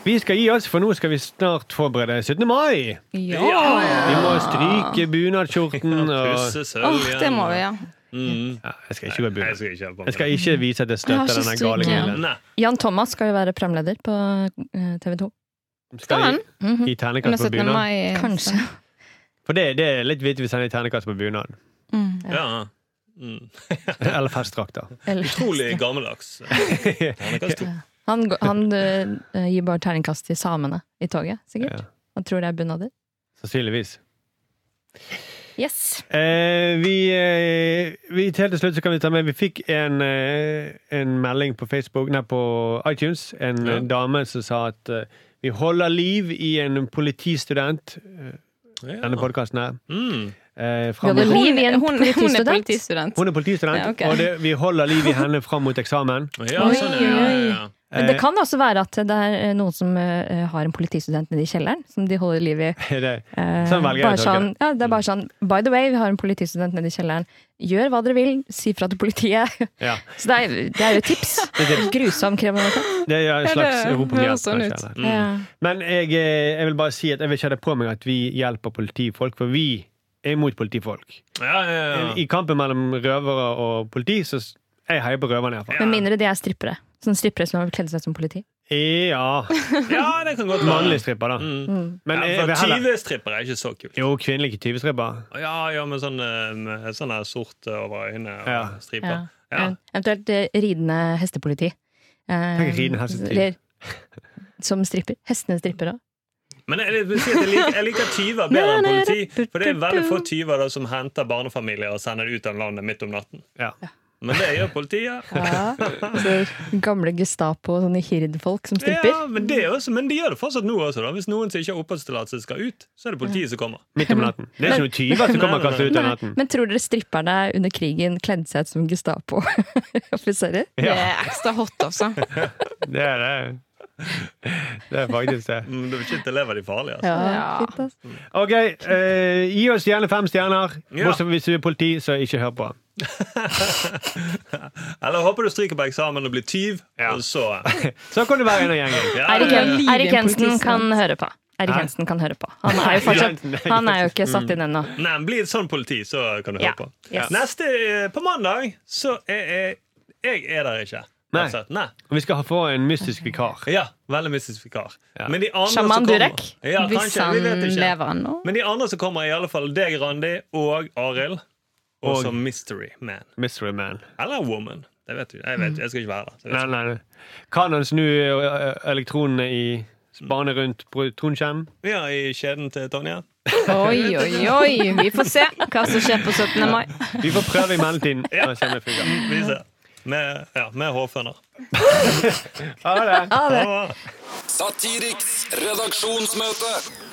Speaker 2: Vi skal gi oss, for nå skal vi snart forberede 17. mai.
Speaker 5: Ja.
Speaker 2: Vi må stryke bunadskjorten og
Speaker 3: Pusse sølv
Speaker 5: Åh, det må vi, ja.
Speaker 3: Mm.
Speaker 2: ja, Jeg skal ikke gå i
Speaker 3: Jeg
Speaker 2: bunad.
Speaker 3: skal ikke ha på
Speaker 2: Jeg skal
Speaker 3: meg
Speaker 2: ikke vise at jeg
Speaker 5: Jeg har
Speaker 2: støtter
Speaker 5: ikke
Speaker 2: denne gale
Speaker 5: stryk, ja.
Speaker 2: grillen.
Speaker 3: Nei.
Speaker 6: Jan Thomas skal jo være programleder på eh, TV 2.
Speaker 5: Skal han?
Speaker 2: Skal gi
Speaker 5: Under
Speaker 2: ternekast på
Speaker 5: 17.
Speaker 2: bunad?
Speaker 5: mai.
Speaker 6: Kanskje.
Speaker 2: [laughs] For det, det er litt vittig hvis han gir ternekast på
Speaker 3: [laughs]
Speaker 2: bunad.
Speaker 5: Mm.
Speaker 3: Ja. Mm.
Speaker 2: Eller festdrakter.
Speaker 6: Eller-
Speaker 3: Utrolig [laughs] gammeldags. Ternekast to.
Speaker 6: Han, gå- han eh, gir bare terningkast til samene i toget, sikkert.
Speaker 2: Ja.
Speaker 6: Han tror det er bunader.
Speaker 2: Sannsynligvis.
Speaker 6: Yes.
Speaker 2: Eh, vi, eh, vi, til helt til slutt så kan vi ta med Vi fikk en, eh, en melding på Facebook Nei, på iTunes. En
Speaker 3: Ja.
Speaker 2: eh, dame som sa at eh, vi holder liv i en politistudent. eh,
Speaker 3: Ja.
Speaker 2: Denne podkasten her.
Speaker 3: Mm.
Speaker 2: Eh,
Speaker 6: Vi
Speaker 2: fram
Speaker 6: holder
Speaker 2: mot,
Speaker 6: liv.
Speaker 5: Hun,
Speaker 6: Liv i en
Speaker 5: hun, hun er
Speaker 6: politistudent.
Speaker 5: politistudent.
Speaker 2: hun er politistudent,
Speaker 5: Ja, ok. [laughs]
Speaker 2: og det, vi holder liv i henne fram mot eksamen.
Speaker 3: ja, sånn, ja, ja, ja.
Speaker 6: Men det
Speaker 2: Eh,
Speaker 6: kan også være at det er eh, noen som eh, har en politistudent nede i kjelleren, som de holder liv i.
Speaker 2: er det- [laughs]
Speaker 6: Eh,
Speaker 2: Sånn velger jeg å
Speaker 6: bare
Speaker 2: tolke Mm.
Speaker 6: sånn, ja, det er bare sånn By the way, vi har en politistudent nede i kjelleren. Gjør hva dere vil, si fra til politiet. [laughs]
Speaker 2: Ja.
Speaker 6: Så det er, det er jo et tips. Grusom kriminalitet.
Speaker 2: Det er en
Speaker 5: det
Speaker 2: slags
Speaker 5: høres
Speaker 2: europabegrep.
Speaker 5: sånn ut.
Speaker 2: kanskje, eller? Men jeg, eh, jeg vil bare si at jeg vil ikke ha det på meg at vi hjelper politifolk, for vi er imot politifolk.
Speaker 3: Ja, ja, ja.
Speaker 2: I kampen mellom røvere og politi, så s- jeg heier på røverne iallfall.
Speaker 6: Med mindre de er strippere. Sånn strippere som har kledd seg som politi.
Speaker 2: Ja.
Speaker 3: ja, det kan godt være.
Speaker 2: Mannlig stripper, da.
Speaker 3: Mm.
Speaker 6: Mm.
Speaker 2: Men jeg
Speaker 3: ja,
Speaker 2: vil
Speaker 3: for
Speaker 2: heller
Speaker 3: tyvestripper er ikke så kult.
Speaker 2: Jo, kvinnelige tyvestripper.
Speaker 3: Ja, ja, med sånn, eh, med sånn her sort eh, over øynene og
Speaker 2: Ja.
Speaker 3: striper. Ja.
Speaker 6: Eh, Eventuelt eh, ridende hestepoliti. Eh,
Speaker 2: Tenk ridende hestepoliti.
Speaker 6: eller Som stripper. Hestene stripper òg.
Speaker 3: Men jeg, vil si at jeg, liker, jeg liker tyver bedre enn politi, for det er veldig få tyver da, som henter barnefamilier og sender det ut av landet midt om natten.
Speaker 2: Ja.
Speaker 3: Men det gjør politiet.
Speaker 6: Altså, Gamle Gestapo og sånne hirdfolk som stripper.
Speaker 3: Ja, men, det er også, men de gjør det fortsatt nå også. da Hvis noen som ikke har oppholdstillatelse, skal ut, så er det politiet som kommer.
Speaker 2: Midt om natten. Det er ikke noen tyver som kommer og kaster ut om
Speaker 6: Nei,
Speaker 2: natten.
Speaker 6: men tror dere stripperne under krigen kledde seg ut som [laughs] Gestapo-offiserer?
Speaker 5: Det
Speaker 2: Ja,
Speaker 5: er ekstra hot,
Speaker 3: [laughs]
Speaker 5: altså.
Speaker 2: det er det. Det er faktisk det.
Speaker 3: Mm, Du vil ikke leve de farlige. Altså.
Speaker 6: Ja,
Speaker 5: Ja.
Speaker 6: fint, altså.
Speaker 2: OK, eh, gi oss gjerne fem stjerner.
Speaker 3: Ja.
Speaker 2: Også hvis du er politi, så ikke hør på.
Speaker 3: Eller håper du stryker på eksamen og blir tyv, og så eh,
Speaker 5: [laughs]
Speaker 2: Så kan du være en av gjengen.
Speaker 3: ja,
Speaker 6: Eirik
Speaker 3: ja, ja.
Speaker 5: liv i en
Speaker 6: Eirik Jensen
Speaker 5: politistudent.
Speaker 6: kan høre på. Eirik
Speaker 2: Hæ?
Speaker 6: Jensen kan høre på. Han er jo, fortsatt, han er jo ikke satt inn ennå.
Speaker 3: Nei, men Bli et sånn politi, så kan du
Speaker 6: Ja.
Speaker 3: høre på.
Speaker 6: Yes.
Speaker 3: Neste eh, På mandag så er jeg Jeg er der ikke.
Speaker 2: Nei.
Speaker 3: Altså, Nei.
Speaker 2: Og vi skal få en mystisk vikar.
Speaker 3: Ja, veldig mystisk vikar.
Speaker 2: Ja.
Speaker 3: Men de andre som
Speaker 5: Sjaman
Speaker 3: kommer-
Speaker 5: Durek,
Speaker 3: Ja,
Speaker 5: hvis
Speaker 3: kanskje,
Speaker 5: han
Speaker 3: vi vet ikke.
Speaker 5: lever ennå.
Speaker 3: Men de andre som kommer, er i alle fall deg, Randi, og Arild. Og
Speaker 2: Og-
Speaker 3: som Mystery Man.
Speaker 2: Mystery Man.
Speaker 3: Eller Woman. Det vet du. Jeg, vet,
Speaker 5: Mm.
Speaker 3: jeg skal ikke være der. så jeg vet
Speaker 2: Nei, nei,
Speaker 3: ikke.
Speaker 2: nei. Kan han snu ø, ø, elektronene i bane rundt protonkjernen?
Speaker 3: Ja, I kjeden til Tonje.
Speaker 5: Oi, oi, oi. Vi får se hva som skjer på 17. mai.
Speaker 2: Vi får prøve i mellomtiden. og se om det fungerer.
Speaker 3: Vi ser. Med, ja, med hårføner.
Speaker 2: Ha det!
Speaker 4: Satiriks redaksjonsmøte.